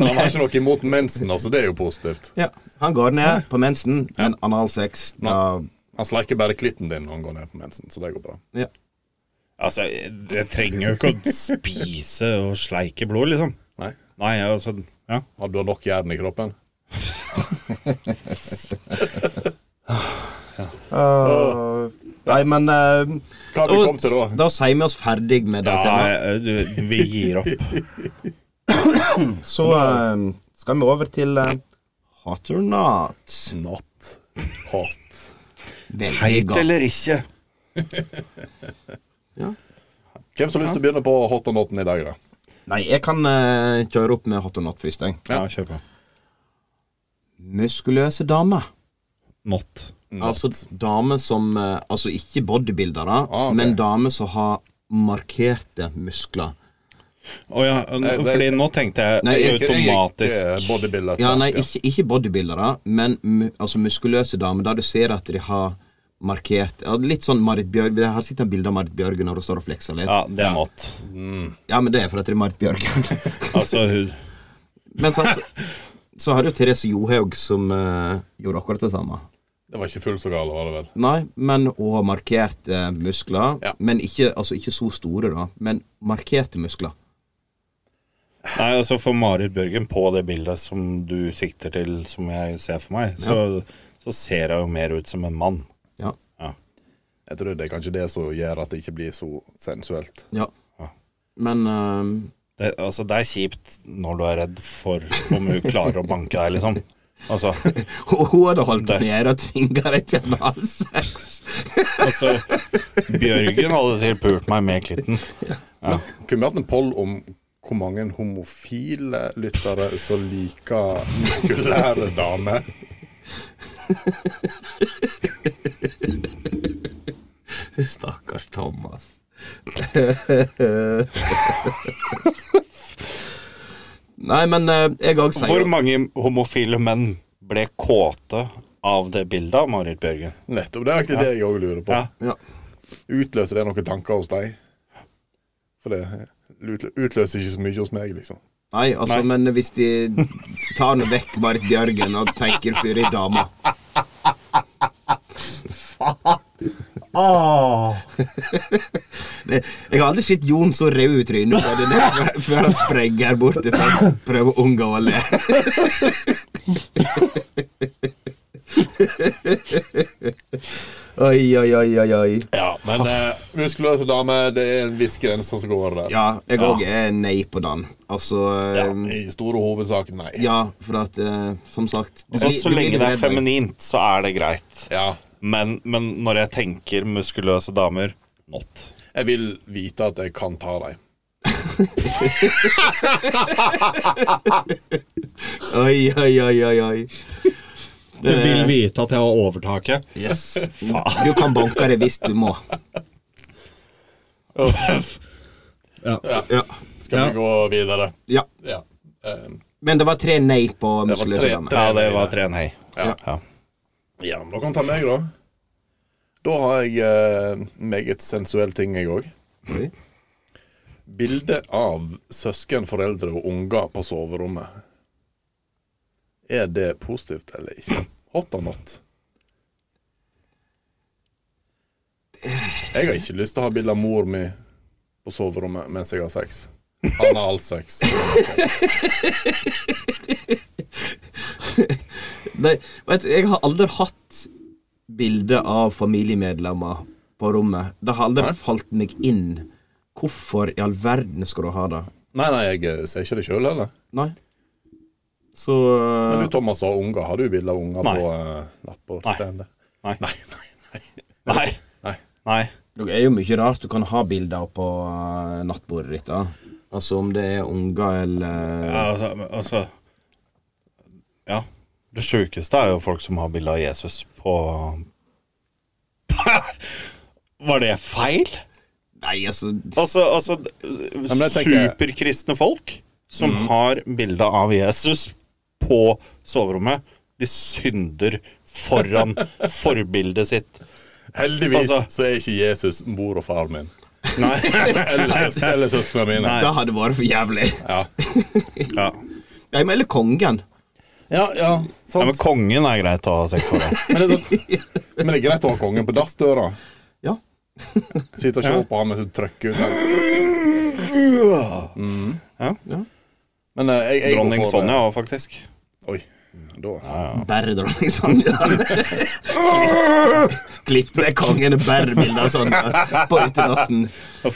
Han har ikke noe imot mensen, altså. Det er jo positivt.
Ja. Han går ned på mensen, men analsex da
Han sleiker bare klitten din når han går ned på mensen, så det går bra.
ja.
Altså, jeg jeg trenger jo ikke å spise og sleike blod, liksom.
Nei.
Nei, altså Ja.
Har du nok jern i kroppen?
Nei, men eh,
Hva har vi kommet til da?
da sier vi oss ferdig med det temaet.
ja jeg- du, vi gir opp.
Så eh, skal vi over til eh, hot or not.
Not hot.
Veldig
Heit
godt.
eller ikke.
Hvem som har lyst til å begynne på hot og noten i dag, da?
Nei, jeg kan eh, kjøre opp med hot or not først, jeg.
Ja, kjør på.
Muskuløse damer.
Not.
Altså damer som eh, Altså ikke bodybuildere,
Ah, ok.
men damer som har markerte muskler.
Å ja,
Nei, det-
fordi nå tenkte jeg
Nei, jeg-
automatisk
eh, Bodybuilder.
Ja, nei, ikke, ikke bodybuildere, men mu, altså muskuløse damer der du ser at de har markert ja, Litt sånn Marit Bjørg Jeg har sett et bilde av Marit Bjørgen når hun står og flekser litt. Ja.
Ja, det er not.
men det er fordi det er Marit Bjørgen.
Altså, hun
men så, så, så har du Therese Johaug som eh, gjorde akkurat det samme.
Det var ikke fullt så gale, var det vel?
Nei, men hun har markert eh, muskler.
Ja.
Men ikke, altså, ikke så store, da. Men markerte muskler.
Nei, altså for Marit Bjørgen på det bildet som du sikter til, som jeg ser for meg, så, så ser jeg jo mer ut som en mann.
Ja.
Jeg tror det er kanskje det som gjør at det ikke blir så sensuelt.
ja.
Ja.
Men eh,
Det, altså, det er kjipt når du er redd for om hun klarer å banke deg, liksom. Altså,
hun hun hadde holdt
Det-
deg nede og tvinga deg til analsex.
altså Bjørgen hadde sikkert pult meg med klitten.
Kunne vi hatt en poll om hvor mange homofile lyttere som liker muskulære damer?
Stakkars Thomas. Nei, men eh, jeg òg sier
Hvor mange homofile menn ble kåte av det bildet av Marit Bjørgen?
Nettopp. Det er egentlig det jeg òg lurer på.
Ja.
ja.
Utløser det noen tanker hos deg? For det utlø- utløser ikke så mye hos meg, liksom.
Nei, altså, men hvis de tar nå vekk Marit Bjørgen og tenker fyr i dama Ah. Det- Jeg har aldri sett Jon så rød i trynet på det der før- før han sprenger bort til folk og prøver å unngå å le. Oi, oi, oi, oi, oi.
Ja, men eh, muskuløse damer, det er en viss grense som går der.
Ja, jeg òg er nei på den. Altså
Ja,
eh,
I store hovedsak, nei.
Ja, for at eh, som sagt
Så,
du blir-
altså, så
du blir
lenge det er
redd, da.
feminint, så er det greit.
Ja.
Men, men når jeg tenker muskuløse damer Not.
Jeg vil vite at jeg kan ta dem.
Oi, oi, oi, oi, oi.
Du vil vite at jeg har overtaket.
Yes. Du kan banke det hvis du må.
Ja.
Ja.
Skal
Ja.
vi gå videre?
ja.
Ja. Eh,
Men det var tre nei på
var
muskuløse
tre-
damer.
tre.
Ja, det var tre en hei.
Ja.
Ja.
Ja, men da kan du ta meg, da. Da har jeg eh, meget sensuell ting, jeg òg.
Oi.
Bilde av søsken, foreldre og unger på soverommet. Er det positivt eller ikke? Hot or not? Jeg har ikke lyst til å ha bilde av mor mi på soverommet mens jeg har sex. Analsex.
Nei, vet, du, jeg har aldri hatt bilde av familiemedlemmer på rommet. Det har aldri falt meg inn. Hvorfor i all verden skal du ha det?
Nei, nei, jeg eh, ser ikke det sjøl heller.
Nei. Så
Men du, Thomas, har unger. Har du bilde av unger
Nei.
på uh, lapper?
Nei.
Nei.
Nei.
nei, nei, nei.
Nei.
Nei.
Nei.
Det er jo mye rart du kan ha bilder på eh, nattbordet ditt. da Altså om det er unger eller
Ja, altså, men, altså Ja. Det sjukeste er jo folk som har bilde av Jesus på Var det feil?
Nei, altså
Altså, altså
men jeg tenker-
superkristne folk som har bilde av Jesus på soverommet, de synder foran forbildet sitt.
Heldigvis
Altså-
så er ikke Jesus mor og far min.
Nei.
Eller, søs- eller søsknene mine.
Nei.
Det hadde vært for jævlig.
Ja. Ja.
Nei, men eller kongen.
Ja, ja,
ja,
sant.
men kongen er greit å ha sex for. da.
Men, det er sånn, men det er greit å ha kongen på dassdøra.
Ja.
Sitte og se på han mens du trykker ut. Mm.
Ja.
Men eh, jeg, jeg går
Dronning
for, eh,
Sonja òg, faktisk.
Oi. Mm, Da.
Bare dronning Sonja. liksom. Klipp med kongen og bare bilder av Sonja på utedassen.
Å,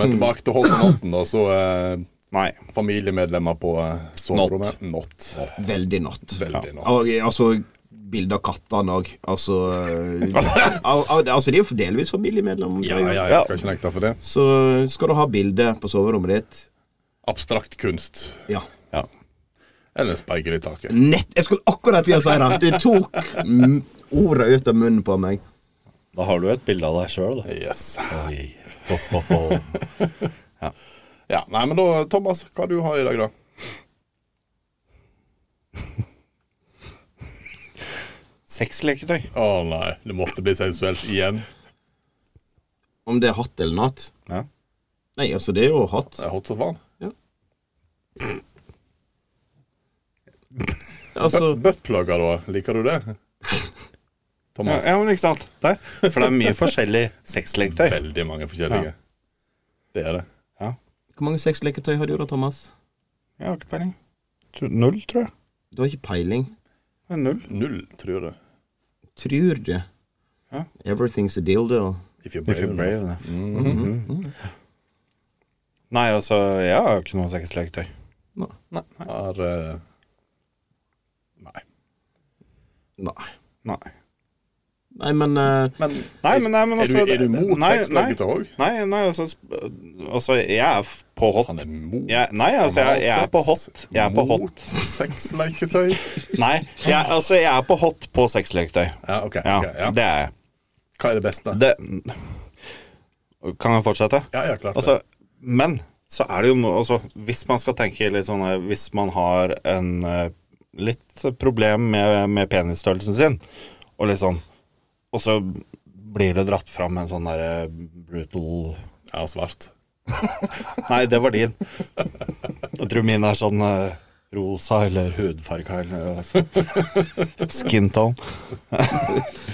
men tilbake til Holden Notten, da. Så eh,
Nei.
familiemedlemmer på eh, soverommet. Not.
Veldig natt.
Veldig not.
Og altså bilder av kattene òg. Altså, al al altså De er jo delvis familiemedlemmer.
Ja, ja, jeg skal ikke nekte for det.
Så skal du ha bilde på soverommet ditt.
Abstrakt kunst.
Ja.
Ja.
Eller en speil i taket.
Nett, jeg skulle akkurat til å si det! Du tok mm, ordet ut av munnen på meg.
Da har du et bilde av deg sjøl, da.
Yes.
Oi. Ho, ho, ho.
Ja, nei, men da, Thomas, hva du har i dag, da?
Sexleketøy.
Å nei, det måtte bli sensuelt igjen.
Om det er hatt eller natt?
Ja.
Nei, altså, det er jo hatt.
Det er hot som faen.
Altså,
Buttplugger, da. Liker du det?
Ja,
Thomas.
ja, men ikke sant. Der. For det er mye forskjellig sexleketøy.
Veldig mange forskjellige. Det er det.
hvor mange sexleketøy har du da, Thomas?
Jeg har ikke peiling. Tro- Null, tror jeg.
Du har ikke peiling.
Det er Null.
Null, tror jeg det.
Tror du?
Ja.
Everything's a dildo.
If you're brave enough. Mhm.
Mhm. Nei, altså, jeg har jo ikke noe sexleketøy.
Har eh, Nei.
Nei.
Nei.
Nei, men eh,
Men
Nei, men, nei, men
er,
altså
du, er du mot
nei,
sexleketøy òg?
Nei, nei, nei altså, sp- altså Jeg er f- på hot.
Han er mot
Jeg- nei, altså, jeg- jeg er på
analsex,
hot. Jeg er på hot.
Mot sexleketøy.
Nei, jeg, altså, jeg er på hot på sexleketøy.
Ja, ok,
Ja,
ok, ja.
det er jeg.
Hva er det beste?
Det Kan jeg fortsette?
Ja, ja, klart
Altså, men så er det jo noe altså, Hvis man skal tenke litt sånn eh, Hvis man har en eh, litt problem med, med penisstørrelsen sin, og litt sånn Og så blir det dratt fram en sånn derre brutal
det. Ja, svart.
Nei, det var din. Jeg tror min er sånn eh, rosa eller hudfarga eller noe sånt. Skin tone.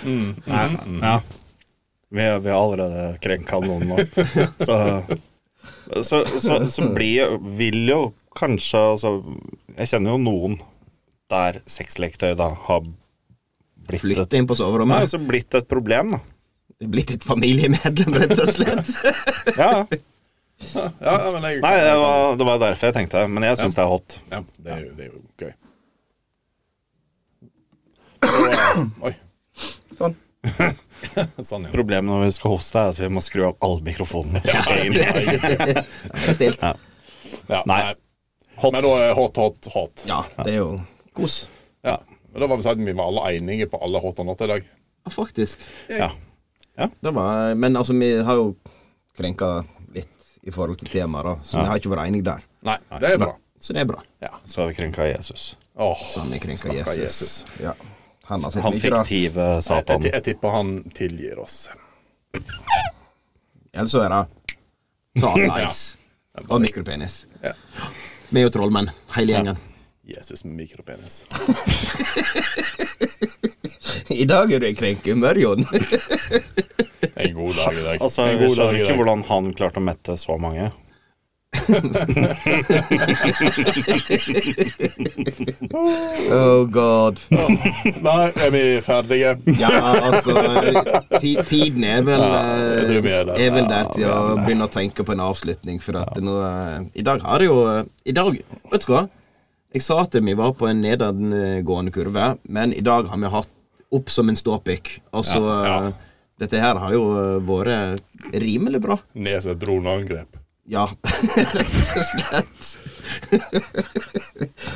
Nei, ja. Mm. Vi, vi har allerede krenka noen nå. Så, så, så, så blir jo Vil jo kanskje altså, Jeg kjenner jo noen der sexleketøy da har blitt et,
flytt inn på
nei,
soverommet.
altså blitt et problem, da.
Det er Blitt et familiemedlem, rett og slett.
Ja, ja.
Ja, ja, men jeg,
Nei, det var, det var derfor jeg tenkte det. Men jeg syns det er hot.
ja, det, er jo, det er jo gøy. Og, eh, Oi.
Sånn.
sånn, ja.
Problemet når vi skal hoste, er at vi må skru av alle mikrofonene. egentlig.
Stilt.
Ja.
ja
Nei.
nei. Men da er hot, hot, hot.
Ja, det er jo kos.
Ja. Men da var vi sånn at vi var alle enige på alle hot og not i dag.
Ja, faktisk.
Ja.
Det var, men altså, vi har jo krenka litt i forhold til temaet, da, så vi har ikke vært enige der.
Nei, det er bra.
Så det er bra.
Så har vi krenka Jesus.
Åh,
Han er krenka
stakkars
Jesus.
Jesus.
Ja. Han har sett
Han
mye rart.
fiktive
Jeg,
Satan.
jeg, jeg tipper han tilgir oss.
Ellers så er det så han nice. Og mikropenis.
Ja.
Vi er jo trollmenn, hele gjengen.
Jesus med mikropenis.
I dag er du en krenkehumør, Jon.
En god dag i dag.
Altså,
en
Vi
god dag
skjønner
i
ikke
dag.
hvordan han klarte å mette så mange.
Oh god.
Nei, er vi ferdige?
Ja, altså ti, Tiden er vel,
jeg tror vi er der.
eh, er vel der til å begynne å tenke på en avslutning, for at nå eh, I dag har det jo eh, I dag, vet du hva? Jeg sa at vi var på en nedadgående kurve, men i dag har vi hatt opp som en ståpikk. Altså eh, Dette her har jo eh, vært rimelig bra.
Nes et droneangrep.
Ja, rett og slett.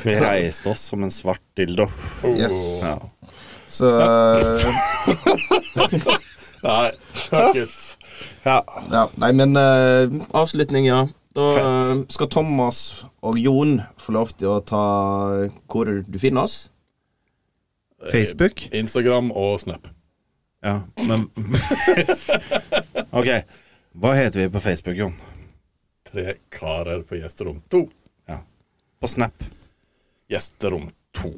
Vi reiste oss som en svart dildo.
Yes.
Oh.
Ja.
Så eh,
Nei, fuck it.
Ja.
ja, Nei, men eh, avslutning, ja. Da eh, skal Thomas og Jon få lov til å ta hvor du finner oss.
Facebook?
Instagram og Snap.
Ja, men Ok, hva heter vi på Facebook, Jon?
Tre karer på gjesterom to.
På Snap?
Gjesterom to.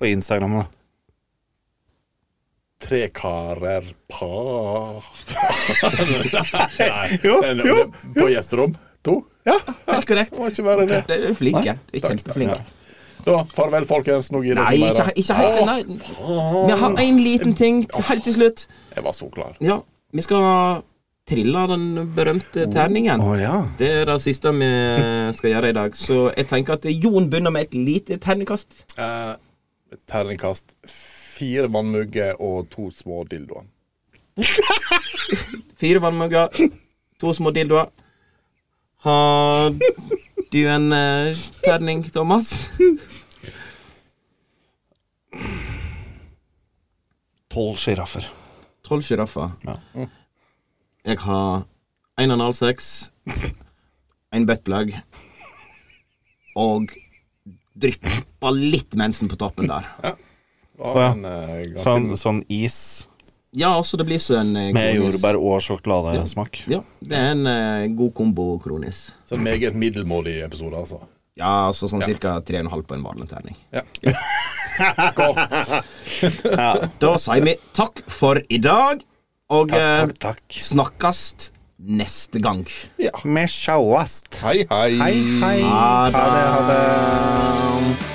På Instagram, da?
Tre karer pa... Nei,
Jo,
den-
jo,
den- På gjesterom to.
Helt korrekt.
Det var ikke verre enn det.
Dere er flinke. Dere er kjempeflinke.
Da, farvel, folkens. Nå gir
Nei,
dere
ikke,
mer.
ikke helt nei. Vi har én liten ting til- helt til slutt.
Jeg var så klar.
Ja, vi skal trille den berømte terningen.
ja.
Det er det siste vi skal gjøre i dag. Så jeg tenker at Jon begynner med et lite terningkast.
Eh, terningkast fire vannmugger og to små dildoer.
Fire vannmugger, to små dildoer. Har du en eh, terning, Thomas?
Tolv sjiraffer.
Tolv sjiraffer.
Ja.
Jeg har en analsex, en buttplug og dryppa litt mensen på toppen der.
Ja,
Ja.
men, eh, ganske-
Sånn, sånn is
Ja, altså det blir så en eh,
med
kronis.
jordbær og sjokoladesmak.
Ja, det er en eh, god kombo kronis.
Så en meget middelmådig episode, altså.
Ja, altså sånn cirka tre og en halv på en vanlig terning.
Godt.
Da sier vi takk for i dag, og
Takk,
eh,
takk, takk.
snakkes neste gang.
Vi sjåast.
Hei, hei.
Hei, hei.
Ha det.